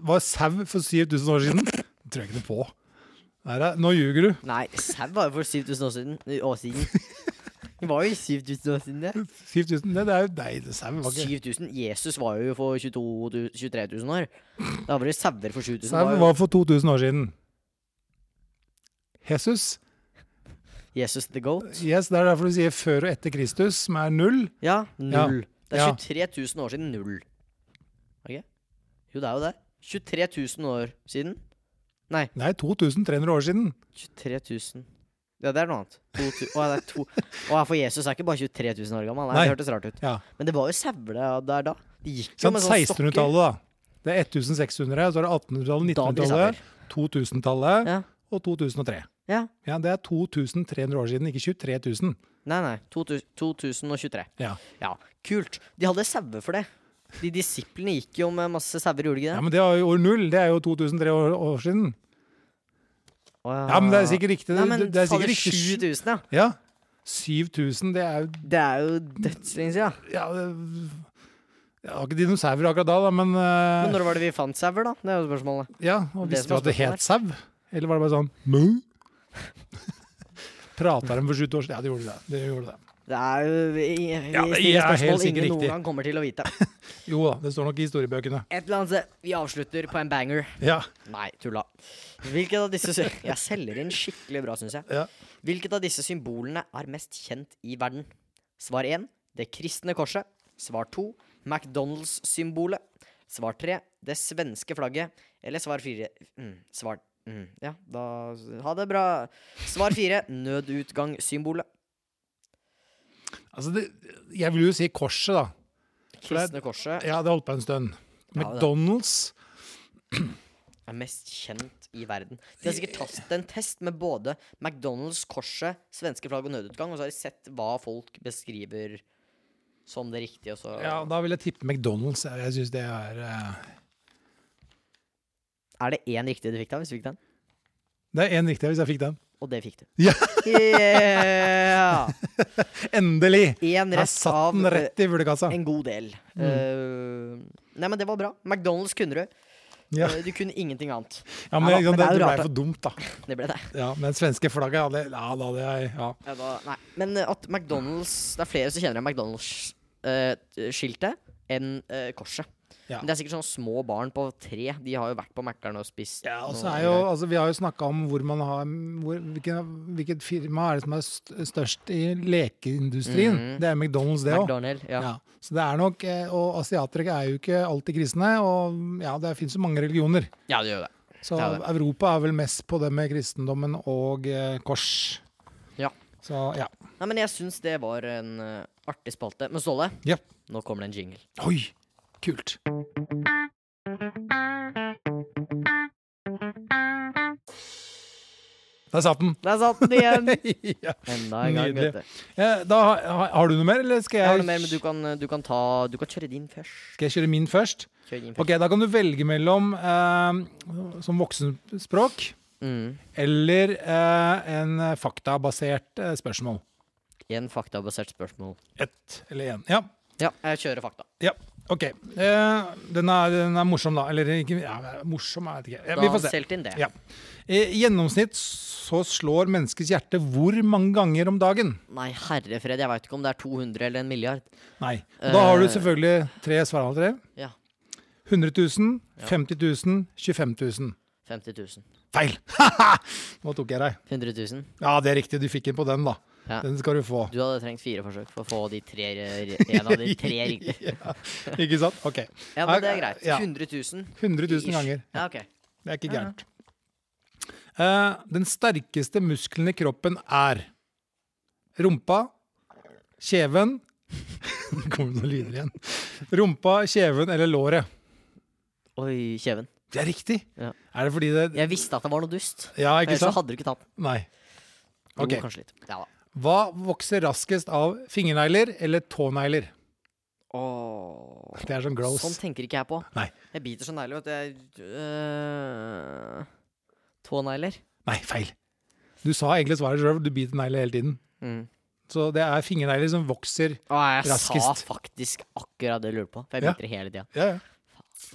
[SPEAKER 2] Var sau for 7000 år siden? Det tror jeg ikke noe på. Nei, da, nå ljuger du.
[SPEAKER 1] Nei, sau var jo for 7000 år siden. År siden. Det var jo 7000 år siden, det.
[SPEAKER 2] 7000 Nei, det er jo Nei, det sau var ikke
[SPEAKER 1] 7000. Jesus var jo for 22 23 000 år. Da var det sauer for 7000.
[SPEAKER 2] Sau
[SPEAKER 1] Det var jo-
[SPEAKER 2] var for 2000 år siden. Jesus.
[SPEAKER 1] Jesus the goat.
[SPEAKER 2] Yes, Det er derfor du sier før og etter Kristus, som er null.
[SPEAKER 1] Ja, null. Det
[SPEAKER 2] Ja.
[SPEAKER 1] er 23 000 år siden null. Ok? Jo, det er jo det. 23 000 år siden.
[SPEAKER 2] Nei, 2300 år siden.
[SPEAKER 1] 23 000 Ja, det er noe annet. To tu- Å, det er to. Å, for Jesus er ikke bare 23 000 år gammel. Nei,
[SPEAKER 2] Nei.
[SPEAKER 1] Det hørtes rart ut.
[SPEAKER 2] Ja.
[SPEAKER 1] Men det var jo sauer der- der da. De gikk jo
[SPEAKER 2] Sant,
[SPEAKER 1] med sånn sånne stokker.
[SPEAKER 2] 1600-tallet, da. Det er 1600, så er det 1800-tallet,
[SPEAKER 1] Da blir det
[SPEAKER 2] 1900-tallet, 2000-tallet
[SPEAKER 1] Ja.
[SPEAKER 2] og 2003.
[SPEAKER 1] Ja.
[SPEAKER 2] Ja, Det er 2300 år siden, ikke 23 000.
[SPEAKER 1] Nei, nei. 2000 2023.
[SPEAKER 2] Ja.
[SPEAKER 1] Ja, kult. De hadde sauer for det. De disiplene gikk jo med masse sauer, gjorde de ikke
[SPEAKER 2] Ja,
[SPEAKER 1] det?
[SPEAKER 2] Men det er jo år null, det er jo 2003 år, år siden.
[SPEAKER 1] Å,
[SPEAKER 2] Ja, men det er sikkert riktig.
[SPEAKER 1] Nei, Ah. men
[SPEAKER 2] det, det er sikkert riktig.
[SPEAKER 1] 7000, ja.
[SPEAKER 2] Ja. 7000, det er jo
[SPEAKER 1] Det er jo dødslenge siden.
[SPEAKER 2] Ja, det det var ikke dinosaurer akkurat da, da, men, eh,
[SPEAKER 1] Men når var det vi fant sauer, da? Det er jo spørsmålet.
[SPEAKER 2] Ja, og
[SPEAKER 1] Det som
[SPEAKER 2] visste du
[SPEAKER 1] er
[SPEAKER 2] at det het sau? Eller var det bare sånn Mø? Prata de for 70 år siden? Ja, det gjorde det. det, gjorde det.
[SPEAKER 1] Det er jo vi, vi
[SPEAKER 2] Ja,
[SPEAKER 1] stiller
[SPEAKER 2] det er helt
[SPEAKER 1] spørsmål
[SPEAKER 2] sikkert
[SPEAKER 1] ingen
[SPEAKER 2] riktig.
[SPEAKER 1] noen gang kommer til å vite.
[SPEAKER 2] Jo da, det står nok i historiebøkene.
[SPEAKER 1] Et eller annet sted. Vi avslutter på en banger.
[SPEAKER 2] Ja.
[SPEAKER 1] Nei, tulla. Hvilket av disse sy- Jeg selger inn skikkelig bra, syns jeg.
[SPEAKER 2] Ja.
[SPEAKER 1] Hvilket av disse symbolene er mest kjent i verden? Svar 1. Det kristne korset. Svar 2. McDonald's-symbolet. Svar 3. Det svenske flagget. Eller svar 4. Mm, svar mm, Ja, da Ha det bra. Svar 4. Nødutgangssymbolet.
[SPEAKER 2] Altså, det, jeg vil jo si korset, da.
[SPEAKER 1] Kristne korset
[SPEAKER 2] Ja, det holdt på en stund.
[SPEAKER 1] Ja, det-
[SPEAKER 2] McDonald's.
[SPEAKER 1] er mest kjent i verden. De har sikkert tatt en test med både McDonald's, korset, svenske flagg og nødutgang, og så har de sett hva folk beskriver som det riktige, og så
[SPEAKER 2] Ja, da vil jeg tippe McDonald's. Jeg- Jeg syns det er eh,
[SPEAKER 1] Er det én riktig du fikk da, hvis du fikk den?
[SPEAKER 2] Det er én riktig hvis jeg fikk den.
[SPEAKER 1] Og det fikk du.
[SPEAKER 2] Ja.
[SPEAKER 1] Yeah!
[SPEAKER 2] Endelig!
[SPEAKER 1] Én
[SPEAKER 2] Jeg
[SPEAKER 1] rett
[SPEAKER 2] satt
[SPEAKER 1] av
[SPEAKER 2] den Mm.
[SPEAKER 1] eh,
[SPEAKER 2] rett i fuglekassa.
[SPEAKER 1] en god del. Eh, nei, men det var bra. McDonald's kunne du.
[SPEAKER 2] Ja.
[SPEAKER 1] Eh, Du kunne ingenting annet.
[SPEAKER 2] Ja, men,
[SPEAKER 1] Ja da,
[SPEAKER 2] ikke
[SPEAKER 1] men det
[SPEAKER 2] sant, det,
[SPEAKER 1] er jo
[SPEAKER 2] det
[SPEAKER 1] rart,
[SPEAKER 2] ble for dumt, da.
[SPEAKER 1] Det ble det.
[SPEAKER 2] Ja, men svenske flagget hadde Ja, da hadde jeg ja.
[SPEAKER 1] Ja, da, nei. Men eh, at McDonald's Det er flere som kjenner McDonald's-skiltet enn eh, korset.
[SPEAKER 2] Ja.
[SPEAKER 1] Men det er sikkert sånne små barn på tre. De har jo vært på Mækkern og spist.
[SPEAKER 2] Ja, og så
[SPEAKER 1] noe
[SPEAKER 2] er jo,
[SPEAKER 1] greier.
[SPEAKER 2] altså, Vi har jo snakka om hvor man har, hvor, hvilket, hvilket firma er det som er st- størst i lekeindustrien.
[SPEAKER 1] Mhm.
[SPEAKER 2] Det er McDonald's, det òg.
[SPEAKER 1] McDonald, ja.
[SPEAKER 2] Ja. Så det er nok, eh, Og asiatere er jo ikke alltid kristne. Og ja, det fins jo mange religioner.
[SPEAKER 1] ja, det gjør det.
[SPEAKER 2] Så
[SPEAKER 1] Det er det.
[SPEAKER 2] Europa er vel mest på det med kristendommen og eh, kors.
[SPEAKER 1] Ja.
[SPEAKER 2] Så ja.
[SPEAKER 1] Nei, men jeg syns det var en eh, artig spalte. Men Ståle,
[SPEAKER 2] Ja.
[SPEAKER 1] nå kommer det en jingle.
[SPEAKER 2] Oi, kult. Der satt den!
[SPEAKER 1] Der satt den igjen!
[SPEAKER 2] ja.
[SPEAKER 1] Enda en gang,
[SPEAKER 2] Nydelig.
[SPEAKER 1] vet du.
[SPEAKER 2] Eh, Da, har, har du noe mer, eller skal
[SPEAKER 1] Jeg
[SPEAKER 2] jeg,
[SPEAKER 1] har noe mer, men du kan, eh, du kan ta Du kan kjøre din først.
[SPEAKER 2] skal jeg kjøre min først?
[SPEAKER 1] Kjør din først.
[SPEAKER 2] Ok, Da kan du velge mellom eh, som voksenspråk
[SPEAKER 1] Mm.
[SPEAKER 2] eller eh, en faktabasert eh, spørsmål.
[SPEAKER 1] En faktabasert spørsmål.
[SPEAKER 2] Ett eller én. Ja.
[SPEAKER 1] Ja, jeg kjører fakta.
[SPEAKER 2] ja. OK. Eh, den, er, den er morsom, da. Eller ikke ja, morsom, jeg vet ikke. Ja,
[SPEAKER 1] Da
[SPEAKER 2] vi får se.
[SPEAKER 1] solgte inn det.
[SPEAKER 2] Ja. Eh, I gjennomsnitt så slår menneskets hjerte hvor mange ganger om dagen?
[SPEAKER 1] Nei, herre fred, jeg veit ikke om det er 200 eller en milliard.
[SPEAKER 2] Nei. Og da har du
[SPEAKER 1] Eh.
[SPEAKER 2] selvfølgelig tre svaraltere.
[SPEAKER 1] Ja.
[SPEAKER 2] 100 000,
[SPEAKER 1] Ja.
[SPEAKER 2] 50 000, 25 000.
[SPEAKER 1] 50 000.
[SPEAKER 2] Feil! Nå tok jeg deg.
[SPEAKER 1] 100 000.
[SPEAKER 2] Ja, det er riktig. Du fikk den på den, da.
[SPEAKER 1] Ja.
[SPEAKER 2] Den skal du få.
[SPEAKER 1] Du hadde trengt fire forsøk for å få de tre, en av de tre riktige.
[SPEAKER 2] Ikke sant? OK.
[SPEAKER 1] Ja, men det er greit.
[SPEAKER 2] Ja.
[SPEAKER 1] 100 000.
[SPEAKER 2] 100 000 ganger.
[SPEAKER 1] Ja, ok.
[SPEAKER 2] Det er ikke gærent. Eh, den sterkeste muskelen i kroppen er rumpa, kjeven Det kommer noen lyder igjen. Rumpa, kjeven eller låret.
[SPEAKER 1] Oi, kjeven.
[SPEAKER 2] Det er riktig!
[SPEAKER 1] Ja.
[SPEAKER 2] Er det fordi det
[SPEAKER 1] Jeg visste at det var noe dust.
[SPEAKER 2] Ja, ikke
[SPEAKER 1] Ellers så
[SPEAKER 2] sant?
[SPEAKER 1] hadde du ikke tatt den.
[SPEAKER 2] Nei.
[SPEAKER 1] Jo,
[SPEAKER 2] Ok.
[SPEAKER 1] kanskje litt. Ja da.
[SPEAKER 2] Hva vokser raskest av fingernegler eller tånegler?
[SPEAKER 1] Åh.
[SPEAKER 2] Det er sånn gross.
[SPEAKER 1] Sånn tenker ikke jeg på.
[SPEAKER 2] Nei.
[SPEAKER 1] Jeg biter så negler at jeg øh, Tånegler.
[SPEAKER 2] Nei, feil. Du sa egentlig svaret sjøl, du biter negler hele tiden.
[SPEAKER 1] Mm.
[SPEAKER 2] Så det er fingernegler som vokser.
[SPEAKER 1] Å, jeg
[SPEAKER 2] Raskest.
[SPEAKER 1] sa faktisk akkurat det jeg lurte på. For jeg
[SPEAKER 2] Ja.
[SPEAKER 1] biter hele tida.
[SPEAKER 2] Ja, ja.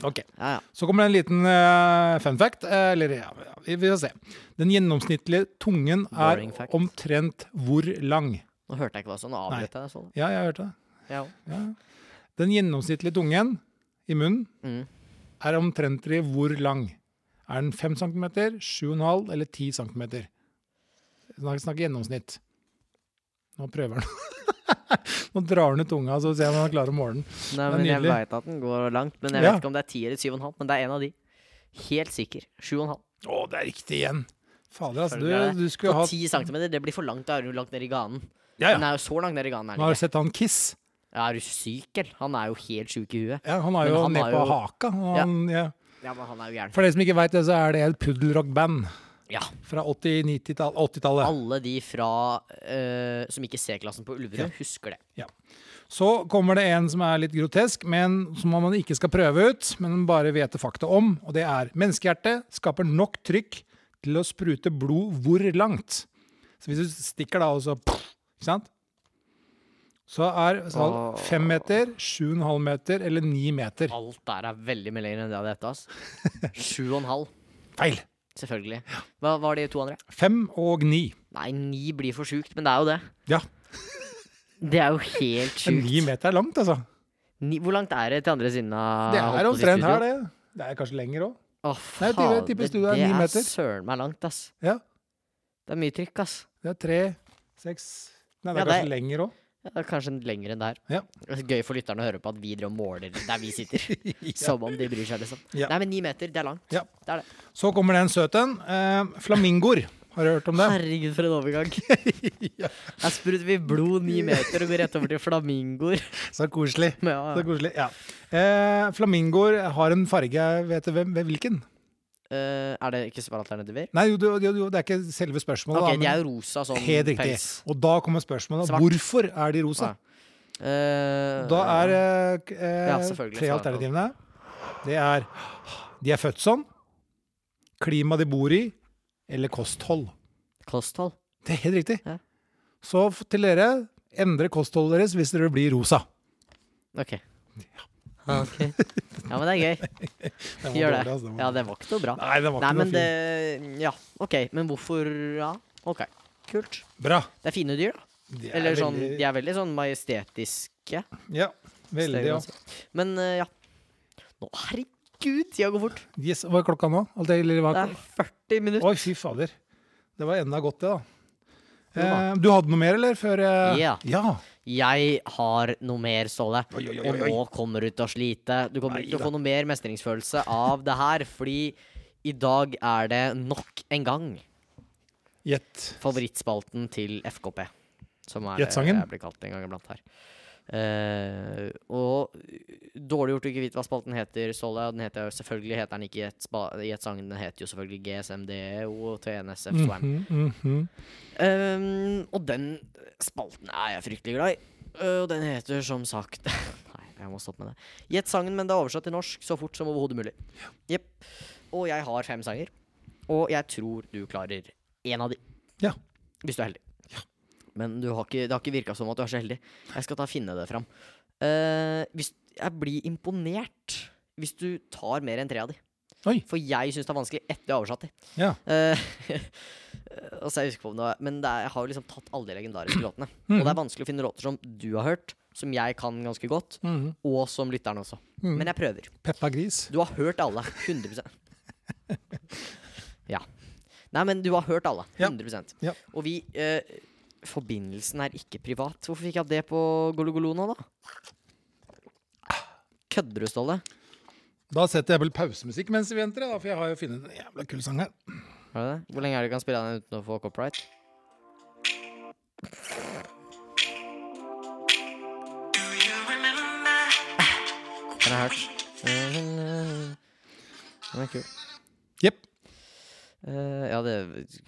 [SPEAKER 2] Ok.
[SPEAKER 1] Ja, ja.
[SPEAKER 2] Så kommer det en liten eh, fun fact. eh, eller ja, ja, vi vi får se. Den gjennomsnittlige tungen er
[SPEAKER 1] Boring fact.
[SPEAKER 2] omtrent hvor lang?
[SPEAKER 1] Nå hørte jeg ikke hva sånn. Nå
[SPEAKER 2] Nei.
[SPEAKER 1] avbrøt jeg deg sånn.
[SPEAKER 2] Ja, jeg hørte det.
[SPEAKER 1] Ja.
[SPEAKER 2] Den gjennomsnittlige tungen i munnen
[SPEAKER 1] Mm.
[SPEAKER 2] er omtrentlig hvor lang? Er den 5 cm, 7,5 eller 10 cm? Snakk, snakk gjennomsnitt. Nå prøver han. Nå drar han ut tunga, så ser han om han klarer å måle den.
[SPEAKER 1] Nei,
[SPEAKER 2] Det er
[SPEAKER 1] men jeg
[SPEAKER 2] nydelig.
[SPEAKER 1] veit at den går langt. Men jeg
[SPEAKER 2] Ja.
[SPEAKER 1] vet ikke om det er 10 eller 7,5. Men det er en av de. Helt sikker. 7,5.
[SPEAKER 2] Å, det er riktig igjen! Fader, altså.
[SPEAKER 1] Følger
[SPEAKER 2] Du, du skulle
[SPEAKER 1] På
[SPEAKER 2] hatt
[SPEAKER 1] 10 cm, det blir for langt. Da er du langt ned i ganen.
[SPEAKER 2] Ja,
[SPEAKER 1] Den
[SPEAKER 2] ja.
[SPEAKER 1] er jo så langt ned i ganen.
[SPEAKER 2] Nå har
[SPEAKER 1] Er, den
[SPEAKER 2] du sett han Kiss.
[SPEAKER 1] ikke. ja, er du syk, eller? Han er jo helt sjuk i huet.
[SPEAKER 2] Ja, han har
[SPEAKER 1] Men
[SPEAKER 2] jo
[SPEAKER 1] han
[SPEAKER 2] ned
[SPEAKER 1] har jo-
[SPEAKER 2] på haka. Og
[SPEAKER 1] Ja.
[SPEAKER 2] han, ja.
[SPEAKER 1] Ja, men han er jo gæren.
[SPEAKER 2] For dere som ikke veit det, så er det et puddelrock-band
[SPEAKER 1] Ja.
[SPEAKER 2] fra 80-, 90-tall- 80-tallet.
[SPEAKER 1] Alle de fra eh, som ikke ser klassen på Ulverud, husker det.
[SPEAKER 2] Så kommer det en som er litt grotesk, men som man ikke skal prøve ut, men bare vet det fakta om, og det er menneskehjertet skaper nok trykk til å sprute blod hvor langt. Så hvis du stikker da, og så Ikke sant? Så er sal
[SPEAKER 1] Åh.
[SPEAKER 2] fem meter, sju og en halv meter eller ni meter.
[SPEAKER 1] Alt der er veldig mye lenger enn det jeg hadde gjetta. ass. Sju og en halv,
[SPEAKER 2] Feil!
[SPEAKER 1] selvfølgelig. Hva var de to andre?
[SPEAKER 2] Fem og ni.
[SPEAKER 1] Nei, ni blir for sjukt, men det er jo det.
[SPEAKER 2] Ja,
[SPEAKER 1] Det er jo helt
[SPEAKER 2] men ni
[SPEAKER 1] sjukt.
[SPEAKER 2] meter er langt, altså.
[SPEAKER 1] Ni, hvor langt er det til andre siden av
[SPEAKER 2] Det er
[SPEAKER 1] holdt Ah, på å si
[SPEAKER 2] omtrent
[SPEAKER 1] studio?
[SPEAKER 2] her, det. Det er kanskje lenger òg.
[SPEAKER 1] Å,
[SPEAKER 2] Nei,
[SPEAKER 1] fader,
[SPEAKER 2] jeg tipper- jeg tipper stua er
[SPEAKER 1] det
[SPEAKER 2] ni
[SPEAKER 1] er
[SPEAKER 2] meter.
[SPEAKER 1] søren meg langt, ass.
[SPEAKER 2] Ja.
[SPEAKER 1] Det er mye trykk, ass.
[SPEAKER 2] Det er tre, seks Nei,
[SPEAKER 1] Ja,
[SPEAKER 2] det er
[SPEAKER 1] det-
[SPEAKER 2] kanskje lenger òg.
[SPEAKER 1] Ja, det er kanskje lenger enn det her.
[SPEAKER 2] Ja.
[SPEAKER 1] Det er Gøy for lytterne å høre på at vi driver og måler der vi sitter. Som om de bryr seg, liksom.
[SPEAKER 2] Ja.
[SPEAKER 1] Nei, men ni meter, det er langt.
[SPEAKER 2] Ja.
[SPEAKER 1] Det er det.
[SPEAKER 2] Så kommer det en søt en. Eh, flamingoer. Har du hørt om det?
[SPEAKER 1] Herregud, for en overgang.
[SPEAKER 2] Ja.
[SPEAKER 1] Her spruter vi blod ni meter og går rett over til flamingoer.
[SPEAKER 2] Så koselig.
[SPEAKER 1] Ja,
[SPEAKER 2] Så koselig, ja. Eh, flamingoer har en farge Vet du hvem, hvem- hvilken?
[SPEAKER 1] Eh, er det ikke svaralternativer?
[SPEAKER 2] Nei, jo, jo, jo, jo, det er ikke selve spørsmålet.
[SPEAKER 1] Ok,
[SPEAKER 2] da,
[SPEAKER 1] de
[SPEAKER 2] men-
[SPEAKER 1] er jo rosa sånn
[SPEAKER 2] Helt riktig.
[SPEAKER 1] pels.
[SPEAKER 2] Og da kommer spørsmålet
[SPEAKER 1] Svart.
[SPEAKER 2] hvorfor er de rosa.
[SPEAKER 1] Ah, Eh,
[SPEAKER 2] Da er eh, k- eh,
[SPEAKER 1] Ja, selvfølgelig,
[SPEAKER 2] tre
[SPEAKER 1] svart.
[SPEAKER 2] alternativene. Det er de er født sånn, klima de bor i, eller kosthold.
[SPEAKER 1] Kosthold.
[SPEAKER 2] Det er helt riktig.
[SPEAKER 1] Ja.
[SPEAKER 2] Så f- til dere, endre kostholdet deres hvis dere blir rosa.
[SPEAKER 1] Ok. Ok. Ja, men det er gøy.
[SPEAKER 2] Den var
[SPEAKER 1] Gjør
[SPEAKER 2] dårlig,
[SPEAKER 1] det.
[SPEAKER 2] altså, den var
[SPEAKER 1] Ja,
[SPEAKER 2] dårlig.
[SPEAKER 1] den var ikke noe bra.
[SPEAKER 2] Nei, den var
[SPEAKER 1] Nei,
[SPEAKER 2] ikke
[SPEAKER 1] men
[SPEAKER 2] noe
[SPEAKER 1] det
[SPEAKER 2] fin.
[SPEAKER 1] Ja, OK. Men hvorfor Ja, OK. Kult.
[SPEAKER 2] Bra.
[SPEAKER 1] Det er fine dyr, da.
[SPEAKER 2] De er
[SPEAKER 1] Eller sånn,
[SPEAKER 2] veldig-
[SPEAKER 1] de er veldig sånn majestetiske.
[SPEAKER 2] Ja, veldig. Ja.
[SPEAKER 1] Men eh, ja. Nå, herregud, tida går fort.
[SPEAKER 2] Yes, hva er klokka nå? Alt det, eller hva?
[SPEAKER 1] Det er 40 minutter.
[SPEAKER 2] Oi, fy fader. Det var enda godt, det, da.
[SPEAKER 1] Jo da.
[SPEAKER 2] Eh, du hadde noe mer, eller? Før eh,
[SPEAKER 1] Ja.
[SPEAKER 2] ja.
[SPEAKER 1] Jeg har noe mer, Ståle.
[SPEAKER 2] Oi, oi, oi,
[SPEAKER 1] Og
[SPEAKER 2] oi.
[SPEAKER 1] nå kommer du til å slite. Du kommer ikke til å få noe mer mestringsfølelse av det her, fordi i dag er det nok en gang
[SPEAKER 2] Gjett.
[SPEAKER 1] favorittspalten til FKP. Som er
[SPEAKER 2] Gjettsangen?
[SPEAKER 1] det jeg blir kalt en gang iblant her. Eh, og dårlig gjort å ikke vite hva spalten heter, Ståle. Den heter jo selvfølgelig heter den ikke Gjett spa- Gjett sangen. Den heter jo selvfølgelig GSMDO og TNSF Swam.
[SPEAKER 2] Mhm, mhm.
[SPEAKER 1] Um, og den spalten er jeg fryktelig glad i. Uh, og den heter som sagt Nei, jeg må stoppe med det. Gjett sangen, men det er oversatt til norsk så fort som overhodet mulig. Jepp. Og jeg har fem sanger, og jeg tror du klarer én av de.
[SPEAKER 2] Ja.
[SPEAKER 1] Hvis du er heldig. Men du har ikke, det har ikke virka som at du er så heldig. Jeg skal ta og finne det fram. Eh, hvis, jeg blir imponert hvis du tar mer enn tre av de.
[SPEAKER 2] Oi.
[SPEAKER 1] For jeg syns det er vanskelig etter jeg har oversatt de.
[SPEAKER 2] Ja.
[SPEAKER 1] Eh, altså, jeg husker på om det var, men det er, jeg har jo liksom tatt alle de legendariske låtene. Og det er vanskelig å finne låter som du har hørt, som jeg kan ganske godt,
[SPEAKER 2] Mhm.
[SPEAKER 1] og som lytteren også.
[SPEAKER 2] Mhm.
[SPEAKER 1] Men jeg prøver.
[SPEAKER 2] Peppa Gris.
[SPEAKER 1] Du har hørt alle. 100 Ja. Nei, men du har hørt alle.
[SPEAKER 2] Ja.
[SPEAKER 1] 100
[SPEAKER 2] Ja.
[SPEAKER 1] Og vi eh, Forbindelsen er ikke privat. Hvorfor fikk jeg det på Gologolo nå, da? Kødder du, Ståle?
[SPEAKER 2] Da setter jeg vel pausemusikk mens vi venter, da, for jeg har jo funnet en jævla kul sang her.
[SPEAKER 1] Er det det? Hvor lenge er det du kan spille den uten å få copyright? Den har jeg hørt. Mm-hmm. Den er kul.
[SPEAKER 2] Jepp.
[SPEAKER 1] Eh, ja, det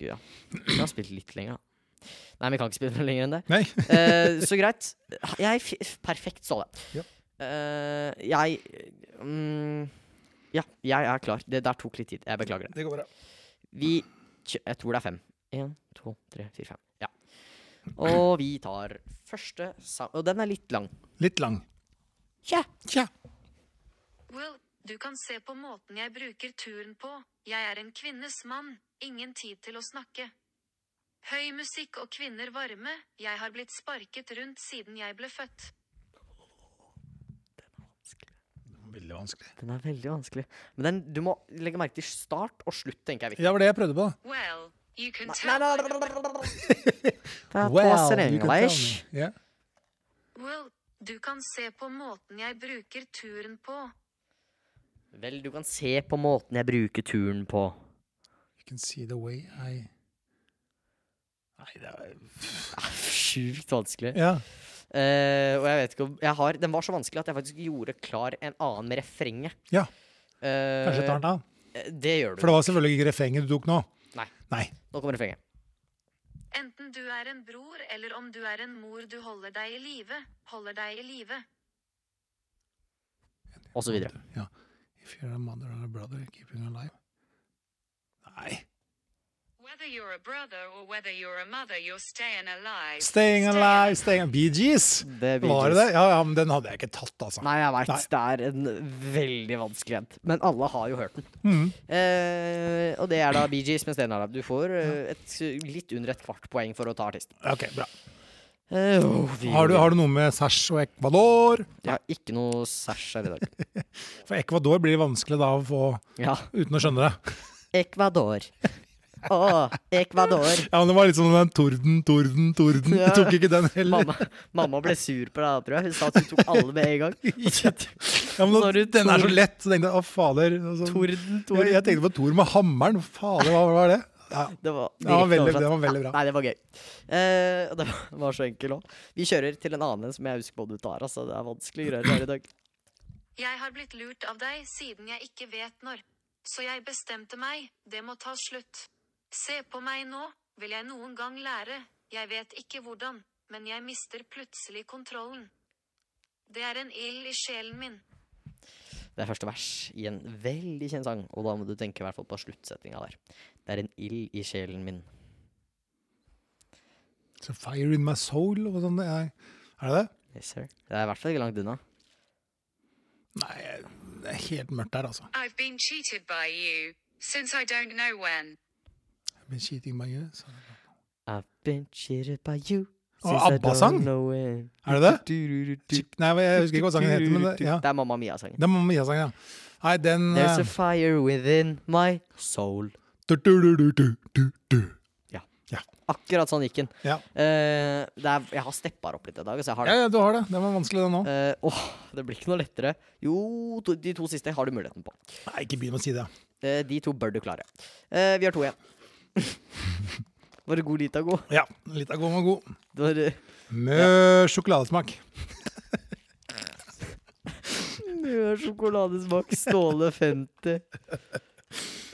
[SPEAKER 1] Ja. Vi har spilt litt lenger, da. Nei, vi kan ikke spille noe lenger enn det.
[SPEAKER 2] Nei.
[SPEAKER 1] Eh, så greit. Jeg f Perfekt, Ståle.
[SPEAKER 2] Ja.
[SPEAKER 1] Eh, jeg mm, Ja, jeg er klar. Det der tok litt tid. Jeg beklager det.
[SPEAKER 2] Det går bra.
[SPEAKER 1] Vi kjø- Jeg tror det er fem. Én, to, tre, fire, fem. Ja. Og vi tar første sang... Og den er litt lang.
[SPEAKER 2] Litt lang.
[SPEAKER 1] Tja.
[SPEAKER 2] Tja.
[SPEAKER 3] Well, du kan se på måten jeg bruker turen på. Jeg er en kvinnes mann. Ingen tid til å snakke. Høy musikk og kvinner varme. Jeg har blitt sparket rundt siden jeg ble født.
[SPEAKER 2] Veldig vanskelig.
[SPEAKER 1] Den er veldig vanskelig. Men den, du må legge merke til start og slutt, tenker jeg. er viktig.
[SPEAKER 2] Ja, det var det jeg prøvde på. da.
[SPEAKER 3] Well, you can
[SPEAKER 1] Nei,
[SPEAKER 3] tell.
[SPEAKER 1] nei, nei, nei, nei, nei. That was in
[SPEAKER 2] you can tell
[SPEAKER 1] English.
[SPEAKER 2] me. Ja.
[SPEAKER 3] Well, du kan se på måten jeg bruker turen på.
[SPEAKER 1] Vel, du kan se på måten jeg bruker turen på.
[SPEAKER 2] You can see the way I Nei, det er
[SPEAKER 1] Ah, Sjukt vanskelig.
[SPEAKER 2] Ja.
[SPEAKER 1] Eh, og jeg vet ikke om jeg har, Den var så vanskelig at jeg faktisk gjorde klar en annen med refrenget.
[SPEAKER 2] ja.
[SPEAKER 1] Eh,
[SPEAKER 2] Kanskje jeg tar den av.
[SPEAKER 1] eh, Det gjør du.
[SPEAKER 2] For det var selvfølgelig ikke refrenget du tok nå.
[SPEAKER 1] Nei.
[SPEAKER 2] Nei.
[SPEAKER 1] Nå kommer refrenget.
[SPEAKER 3] Enten du er en bror eller om du er en mor, du holder deg i live. Holder deg i live.
[SPEAKER 1] Og så videre.
[SPEAKER 2] Ja. If you're a mother or a brother, keeping alive. Nei.
[SPEAKER 3] Whether you're a brother or whether you're a mother, you're staying alive.
[SPEAKER 2] Staying alive, staying Bee Gees!
[SPEAKER 1] Det er Bee
[SPEAKER 2] Var det
[SPEAKER 1] Gees.
[SPEAKER 2] det? Ja, ja, men den hadde jeg ikke tatt, altså.
[SPEAKER 1] Nei, jeg
[SPEAKER 2] Nei.
[SPEAKER 1] veit. Det er en veldig vanskelig en. Men alle har jo hørt den. Eh, og det er da Bee Gees med Sten Arab. Du får eh, et, litt under et kvart poeng for å ta artist.
[SPEAKER 2] Ok, bra.
[SPEAKER 1] Eh, oh, vi-
[SPEAKER 2] Har du, har du noe med Sash og Ecuador?
[SPEAKER 1] Jeg har ikke noe sæsj her i dag.
[SPEAKER 2] For Ecuador blir vanskelig da å få
[SPEAKER 1] Ja.
[SPEAKER 2] uten å skjønne det.
[SPEAKER 1] Ecuador. Å, Ecuador.
[SPEAKER 2] Ja, men Det var litt som den torden, torden, torden. Jeg tok ikke den heller.
[SPEAKER 1] Mamma, mamma ble sur på deg, tror jeg. Hun sa at hun tok alle med en gang.
[SPEAKER 2] Ja, men nå,
[SPEAKER 1] altså. Når du
[SPEAKER 2] den er
[SPEAKER 1] tor-
[SPEAKER 2] så lett, så tenkte jeg å fader. Altså,
[SPEAKER 1] Torden,
[SPEAKER 2] Jeg,
[SPEAKER 1] torden.
[SPEAKER 2] jeg tenkte på Tor med hammeren. Fader, hva var det? Ja,
[SPEAKER 1] Det var,
[SPEAKER 2] Det var
[SPEAKER 1] direkte
[SPEAKER 2] veldig- det
[SPEAKER 1] oversatt.
[SPEAKER 2] var veldig bra.
[SPEAKER 1] Ja, nei, det var gøy. Eh, og det var- var så enkel òg. Vi kjører til en annen som jeg husker både du tar. Altså, det er vanskelige greier her i dag.
[SPEAKER 3] Jeg har blitt lurt av deg siden jeg ikke vet når. Så jeg bestemte meg, det må ta slutt. Se på meg nå, vil jeg noen gang lære, jeg vet ikke hvordan, men jeg mister plutselig kontrollen. Det er en ild i sjelen min.
[SPEAKER 1] Det er første vers i en veldig kjent sang, og da må du tenke i hvert fall på sluttsetninga der. Det er en ild i sjelen min.
[SPEAKER 2] Så Fire in my soul og sånn. det Er er det det?
[SPEAKER 1] Yes, sir. Det er i hvert fall ikke langt unna.
[SPEAKER 2] Nei, det er helt mørkt der, altså.
[SPEAKER 4] I've been cheated by you since I don't know when.
[SPEAKER 2] Jeg blir cheating by you, så-
[SPEAKER 1] I've been cheated by you
[SPEAKER 2] Å,
[SPEAKER 1] since I
[SPEAKER 2] ABBA-sang?
[SPEAKER 1] don't know when.
[SPEAKER 2] Er det det?
[SPEAKER 1] Du-du-du-du.
[SPEAKER 2] Chik- Nei, jeg husker ikke hva sangen heter, men det, ja.
[SPEAKER 1] Det er Mamma Mia-sangen.
[SPEAKER 2] det er Mamma Mia-sangen, ja. Nei, den
[SPEAKER 1] There's
[SPEAKER 2] eh,
[SPEAKER 1] a fire within my soul.
[SPEAKER 2] du, du, du, du, du, du, du.
[SPEAKER 1] Akkurat sånn gikk den.
[SPEAKER 2] Ja.
[SPEAKER 1] Eh, det er, jeg har steppa opp litt i dag. Så jeg har det.
[SPEAKER 2] ja, ja, du har det. Den var vanskelig, den òg.
[SPEAKER 1] Eh, åh, det blir ikke noe lettere. Jo, to, de to siste har du muligheten på.
[SPEAKER 2] Nei, ikke begynn å si det.
[SPEAKER 1] Eh, de to bør du klare. Eh, vi har to igjen. Var det god lita god?
[SPEAKER 2] Ja, litt av god var god.
[SPEAKER 1] Det var, eh,
[SPEAKER 2] Med sjokoladesmak.
[SPEAKER 1] Du har sjokoladesmak. Ståle 50.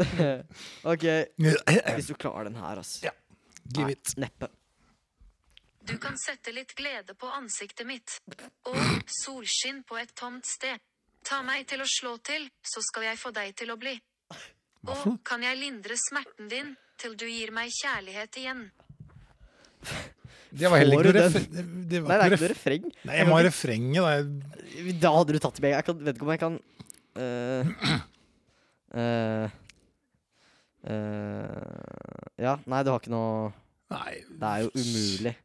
[SPEAKER 1] OK,
[SPEAKER 2] Give
[SPEAKER 1] hvis du klarer den her, altså.
[SPEAKER 2] Ja,
[SPEAKER 1] Nei,
[SPEAKER 2] it.
[SPEAKER 1] neppe.
[SPEAKER 3] Du kan sette litt glede på ansiktet mitt. Og solskinn på et tomt sted. Ta meg til å slå til, så skal jeg få deg til å bli. Og kan jeg lindre smerten din, til du gir meg kjærlighet igjen.
[SPEAKER 2] Det var heller
[SPEAKER 1] Får
[SPEAKER 2] ikke
[SPEAKER 1] du
[SPEAKER 2] noe
[SPEAKER 1] den?
[SPEAKER 2] refre- det-
[SPEAKER 1] Nei,
[SPEAKER 2] det var
[SPEAKER 1] det er
[SPEAKER 2] ikke
[SPEAKER 1] ikke noe
[SPEAKER 2] ref-
[SPEAKER 1] refreng.
[SPEAKER 2] Nei, jeg må ha refrenget, da. Jeg-
[SPEAKER 1] Da hadde du tatt det med. Jeg kan, vet ikke om jeg kan eh, eh, eh, Ja, nei, du har ikke noe
[SPEAKER 2] Nei.
[SPEAKER 1] Det er jo umulig.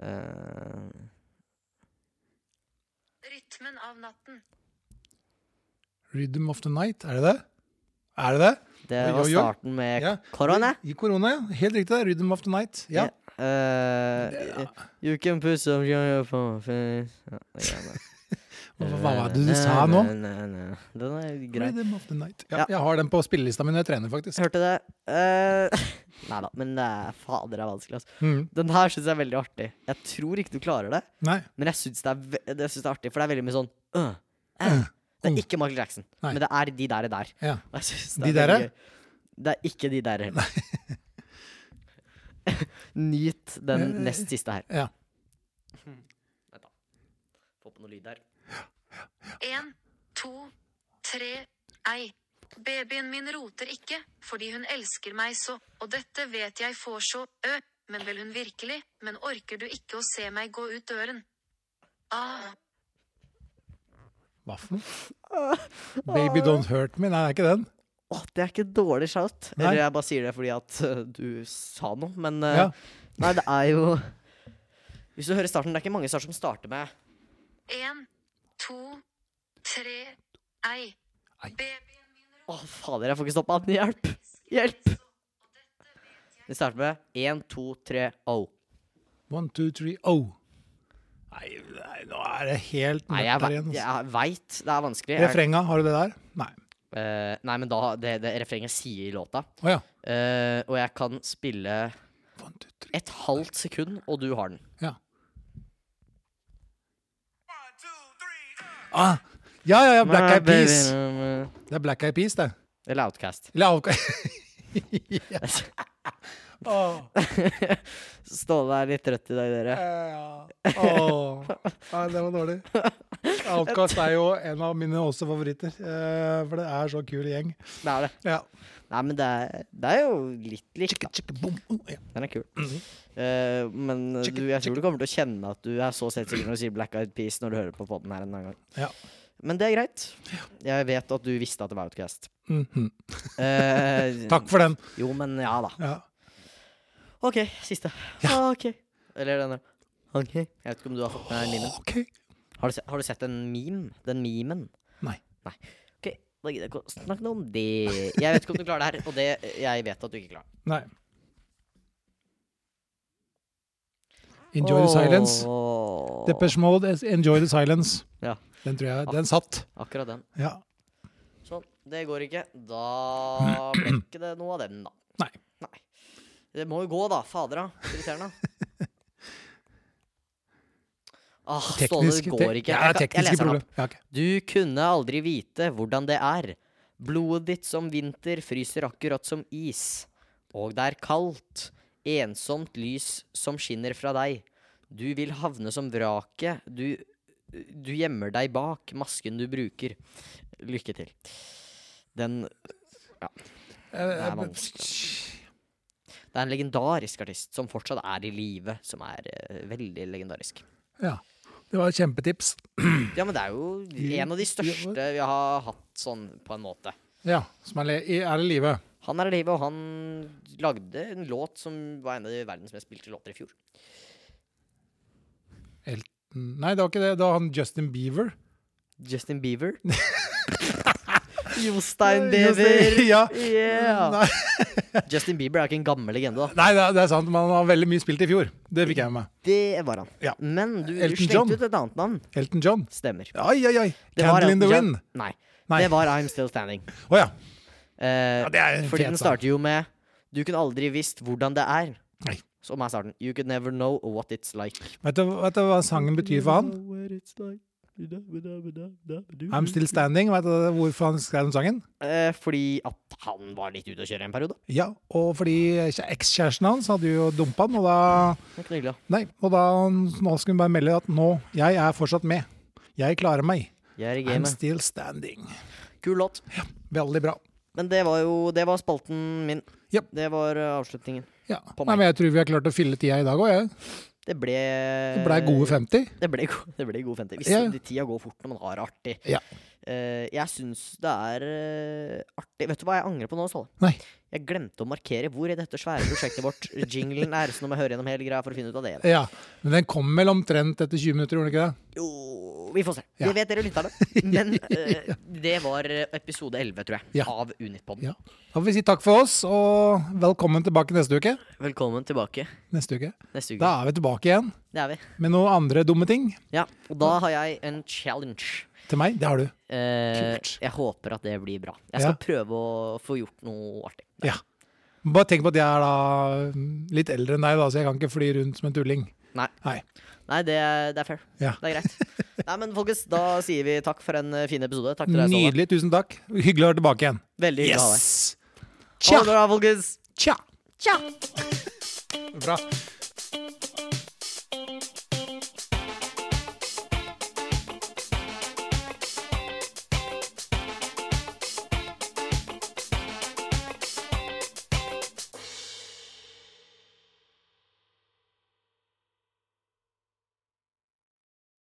[SPEAKER 1] Eh,
[SPEAKER 3] Rytmen av natten.
[SPEAKER 2] Rhythm of the night, er det det? Er det det?
[SPEAKER 1] det
[SPEAKER 2] Oi,
[SPEAKER 1] var
[SPEAKER 2] oi, oi.
[SPEAKER 1] starten med
[SPEAKER 2] Ja.
[SPEAKER 1] korona.
[SPEAKER 2] I korona, ja. Helt riktig. det er Rhythm of the night. Ja.
[SPEAKER 1] Eh, you can put some sugar for face Ja, det er greit.
[SPEAKER 2] Hva hva var det du sa nå?
[SPEAKER 1] Eh, Nei, nei, nei, nei. Den er grei.
[SPEAKER 2] Rhythm of the night.
[SPEAKER 1] Ja.
[SPEAKER 2] Ja, jeg har den på spillelista mi når jeg trener, faktisk.
[SPEAKER 1] Hørte det. Uh, nei da, men det er, fader, det er vanskelig. Altså.
[SPEAKER 2] Mm.
[SPEAKER 1] Den her syns jeg er veldig artig. Jeg tror ikke du klarer det,
[SPEAKER 2] Nei.
[SPEAKER 1] men jeg syns det, er ve- det- jeg synes det er artig, for det er veldig mye sånn øh, øh. Det er ikke Michael Jackson,
[SPEAKER 2] Oh. Nei.
[SPEAKER 1] men det er de der der.
[SPEAKER 2] Ja.
[SPEAKER 1] Og jeg synes det
[SPEAKER 2] De
[SPEAKER 1] er
[SPEAKER 2] der
[SPEAKER 1] veldig
[SPEAKER 2] er?
[SPEAKER 1] gøy. Det er ikke de der heller. Nyt den nest siste her.
[SPEAKER 2] Ja.
[SPEAKER 1] Vent da. Få på noe lyd der.
[SPEAKER 3] En, to, tre, ei. Babyen min roter ikke, fordi hun elsker meg så, og dette vet jeg får så, ø, men vil hun virkelig, men orker du ikke å se meg gå ut døren? Ah,
[SPEAKER 2] Hva for noe? Baby Don't Hurt Me. Nei, det er ikke den.
[SPEAKER 1] Åh, det er ikke et dårlig shout.
[SPEAKER 2] Nei.
[SPEAKER 1] Eller jeg bare sier det fordi at øh, du sa noe, men øh,
[SPEAKER 2] Ja.
[SPEAKER 1] Nei, det er jo Hvis du hører starten, det er ikke mange starter som starter med
[SPEAKER 3] en, to, tre, ei.
[SPEAKER 2] Ei.
[SPEAKER 3] Babyen min roter
[SPEAKER 1] Å, fader, jeg får ikke stoppa den. Hjelp! Hjelp! Vi starter med én, to, tre, oh.
[SPEAKER 2] One, two, three, oh. Nei, nei, nå er det helt
[SPEAKER 1] Nei, jeg,
[SPEAKER 2] mørkt der
[SPEAKER 1] ve-
[SPEAKER 2] igjen. altså.
[SPEAKER 1] jeg veit det er vanskelig. Jeg,
[SPEAKER 2] Refrenga, har du det der? Nei.
[SPEAKER 1] Eh, nei, men da Det, det refrenget sier låta.
[SPEAKER 2] Å ja.
[SPEAKER 1] Eh, og jeg kan spille
[SPEAKER 2] One, two, three.
[SPEAKER 1] et halvt sekund, og du har den.
[SPEAKER 2] Ja. Ah, ja, ja, ja. Black Eyed Peas. Det er Black Eyed Peas, det.
[SPEAKER 1] Eller Outcast.
[SPEAKER 2] Eller avk... ja. Åh, eh,
[SPEAKER 1] Ståle er litt trøtt i dag, dere.
[SPEAKER 2] ja. Åh. Nei, det var dårlig. Outcast er jo en av mine også favoritter, eh, for det er så kul gjeng.
[SPEAKER 1] Det er det.
[SPEAKER 2] Ja.
[SPEAKER 1] Nei, men det er, det er jo litt likt. da.
[SPEAKER 2] Chicka, boom, oh, ja.
[SPEAKER 1] Den er kul. Eh, men du, jeg tror du kommer til å kjenne at du er så selvsikker når du sier Black Eyed Peas når du hører på podden her en annen gang.
[SPEAKER 2] Ja.
[SPEAKER 1] Men det er greit. Jeg vet at du visste at det var Outcast.
[SPEAKER 2] Mhm.
[SPEAKER 1] Eh,
[SPEAKER 2] Takk for den.
[SPEAKER 1] Jo, men ja da.
[SPEAKER 2] Ja.
[SPEAKER 1] OK, siste. OK. Eller denne. OK. Jeg vet ikke om du har fått med memen.
[SPEAKER 2] OK.
[SPEAKER 1] Har du, se, har du sett den meme? Den memen?
[SPEAKER 2] Nei.
[SPEAKER 1] Nei. OK, da gidder jeg ikke å snakke noe om det. Jeg vet ikke om du klarer det her, og det jeg vet at du ikke klarer.
[SPEAKER 2] Nei. Enjoy the silence.
[SPEAKER 1] Åh.
[SPEAKER 2] Depeche Mode, es- Enjoy the silence.
[SPEAKER 1] Ja. Ah.
[SPEAKER 2] Den tror jeg Den satt.
[SPEAKER 1] Akkurat den.
[SPEAKER 2] Ja.
[SPEAKER 1] Sånn. Det går ikke. Da ble ikke det noe av den, da.
[SPEAKER 2] Nei.
[SPEAKER 1] Nei. Det må jo gå, da. Fader, da. Irriterende. Ah, Ståle,
[SPEAKER 2] Teknisk
[SPEAKER 1] det går ikke. Jeg,
[SPEAKER 2] Ja,
[SPEAKER 1] kan, jeg
[SPEAKER 2] tekniske
[SPEAKER 1] leser den opp.
[SPEAKER 2] problem. Ja, ok.
[SPEAKER 1] Du kunne aldri vite hvordan det er. Blodet ditt som vinter fryser akkurat som is. Og det er kaldt. Ensomt lys som skinner fra deg. Du vil havne som vraket. Du, du gjemmer deg bak masken du bruker. Lykke til. Den
[SPEAKER 2] Eh,
[SPEAKER 1] er vanskelig. Det er en legendarisk artist som fortsatt er i live, som er eh, veldig legendarisk.
[SPEAKER 2] Ja. Det var et kjempetips.
[SPEAKER 1] Ja, men det er jo en av de største vi har hatt sånn, på en måte.
[SPEAKER 2] Ja, som er, le i- er i live.
[SPEAKER 1] Han er i live, og han lagde en låt som var en av de verdens mest spilte låter i fjor.
[SPEAKER 2] Mm, Nei, det var ikke det. Det var han Justin Bieber.
[SPEAKER 1] Justin Bieber. Jostein Bieber.
[SPEAKER 2] Justin- Ja.
[SPEAKER 1] Yeah.
[SPEAKER 2] Nei,
[SPEAKER 1] Justin Bieber er ikke en gammel legende, da.
[SPEAKER 2] nei, det er- det er sant, men han har veldig mye spilt i fjor. Det fikk jeg med meg.
[SPEAKER 1] Det var han.
[SPEAKER 2] Ja.
[SPEAKER 1] Men du, du
[SPEAKER 2] Elton John.
[SPEAKER 1] slengte ut et annet navn.
[SPEAKER 2] Elton John.
[SPEAKER 1] Stemmer.
[SPEAKER 2] Ai, ai, ai.
[SPEAKER 1] Det var
[SPEAKER 2] Candle in the
[SPEAKER 1] Elton John-
[SPEAKER 2] Wind.
[SPEAKER 1] Nei.
[SPEAKER 2] Nei.
[SPEAKER 1] Det var I'm Still Standing.
[SPEAKER 2] Å ja.
[SPEAKER 1] Eh,
[SPEAKER 2] ja. Det er en
[SPEAKER 1] fordi
[SPEAKER 2] fet
[SPEAKER 1] den
[SPEAKER 2] sang.
[SPEAKER 1] starter jo med Du kunne aldri visst hvordan det er.
[SPEAKER 2] Nei.
[SPEAKER 1] Som er starten. You could never know what it's like.
[SPEAKER 2] Vet du, vet du hva sangen betyr for han? I'm Still Standing. Vet du hvorfor han skrev den sangen?
[SPEAKER 1] Eh, fordi at han var litt ute å kjøre en periode.
[SPEAKER 2] Ja, og fordi ekskjæresten hans hadde jo dumpa han, og da
[SPEAKER 1] Det er ikke noe hyggelig, da.
[SPEAKER 2] Nei, og da nå skulle hun bare melde at nå, jeg er fortsatt med. Jeg klarer meg.
[SPEAKER 1] Jeg er i
[SPEAKER 2] I'm
[SPEAKER 1] gamet.
[SPEAKER 2] still standing.
[SPEAKER 1] Kul låt.
[SPEAKER 2] Veldig bra.
[SPEAKER 1] Men det var jo Det var spalten min.
[SPEAKER 2] Japp.
[SPEAKER 1] Det var eh, avslutningen.
[SPEAKER 2] Ja.
[SPEAKER 1] På
[SPEAKER 2] Nei,
[SPEAKER 1] meg.
[SPEAKER 2] men jeg tror vi har klart å fylle tida i dag òg, jeg.
[SPEAKER 1] Det ble Eh,
[SPEAKER 2] Det blei gode 50.
[SPEAKER 1] Det ble, go- det ble gode 50. Hvis
[SPEAKER 2] Ja.
[SPEAKER 1] de tida går fort når man har det artig.
[SPEAKER 2] Ja.
[SPEAKER 1] Eh, jeg syns det er eh, artig Vet du hva jeg angrer på nå, Ståle?
[SPEAKER 2] Nei.
[SPEAKER 1] Jeg glemte å markere hvor i dette svære prosjektet vårt jinglen er. Så nå må jeg høre gjennom hele greia for å finne ut av det. igjen.
[SPEAKER 2] Ja. Men den kom vel omtrent etter 20 minutter, gjorde den ikke det?
[SPEAKER 1] Jo, vi får se.
[SPEAKER 2] Ja.
[SPEAKER 1] Det vet dere lytterne. Men eh, det var eh, episode 11, tror jeg,
[SPEAKER 2] Ja.
[SPEAKER 1] av Unitpodden.
[SPEAKER 2] Ja. Da får vi si takk for oss, og velkommen tilbake neste uke.
[SPEAKER 1] Velkommen tilbake
[SPEAKER 2] Neste uke.
[SPEAKER 1] neste uke.
[SPEAKER 2] Da er vi tilbake igjen
[SPEAKER 1] Det er vi.
[SPEAKER 2] med noen andre dumme ting.
[SPEAKER 1] Ja, og da har jeg en challenge.
[SPEAKER 2] Til meg, det har du.
[SPEAKER 1] Eh,
[SPEAKER 2] Kult.
[SPEAKER 1] jeg håper at det blir bra. Jeg
[SPEAKER 2] Ja.
[SPEAKER 1] skal prøve å få gjort noe artig.
[SPEAKER 2] Ja. Bare tenk på at jeg er da mm, litt eldre enn deg, da, så jeg kan ikke fly rundt som en tulling.
[SPEAKER 1] Nei.
[SPEAKER 2] Nei.
[SPEAKER 1] Nei, det, er- det er fair.
[SPEAKER 2] Ja.
[SPEAKER 1] Det er greit. Nei, men folkens, da sier vi takk for en eh, fin episode. Takk til deg, Ståle.
[SPEAKER 2] Nydelig. Tusen takk. Hyggelig å være tilbake igjen.
[SPEAKER 1] Veldig hyggelig å ha deg.
[SPEAKER 2] Yes!
[SPEAKER 1] Ha
[SPEAKER 2] Tja!
[SPEAKER 1] det bra, folkens.
[SPEAKER 2] Tja!
[SPEAKER 1] Tja.
[SPEAKER 2] Bra.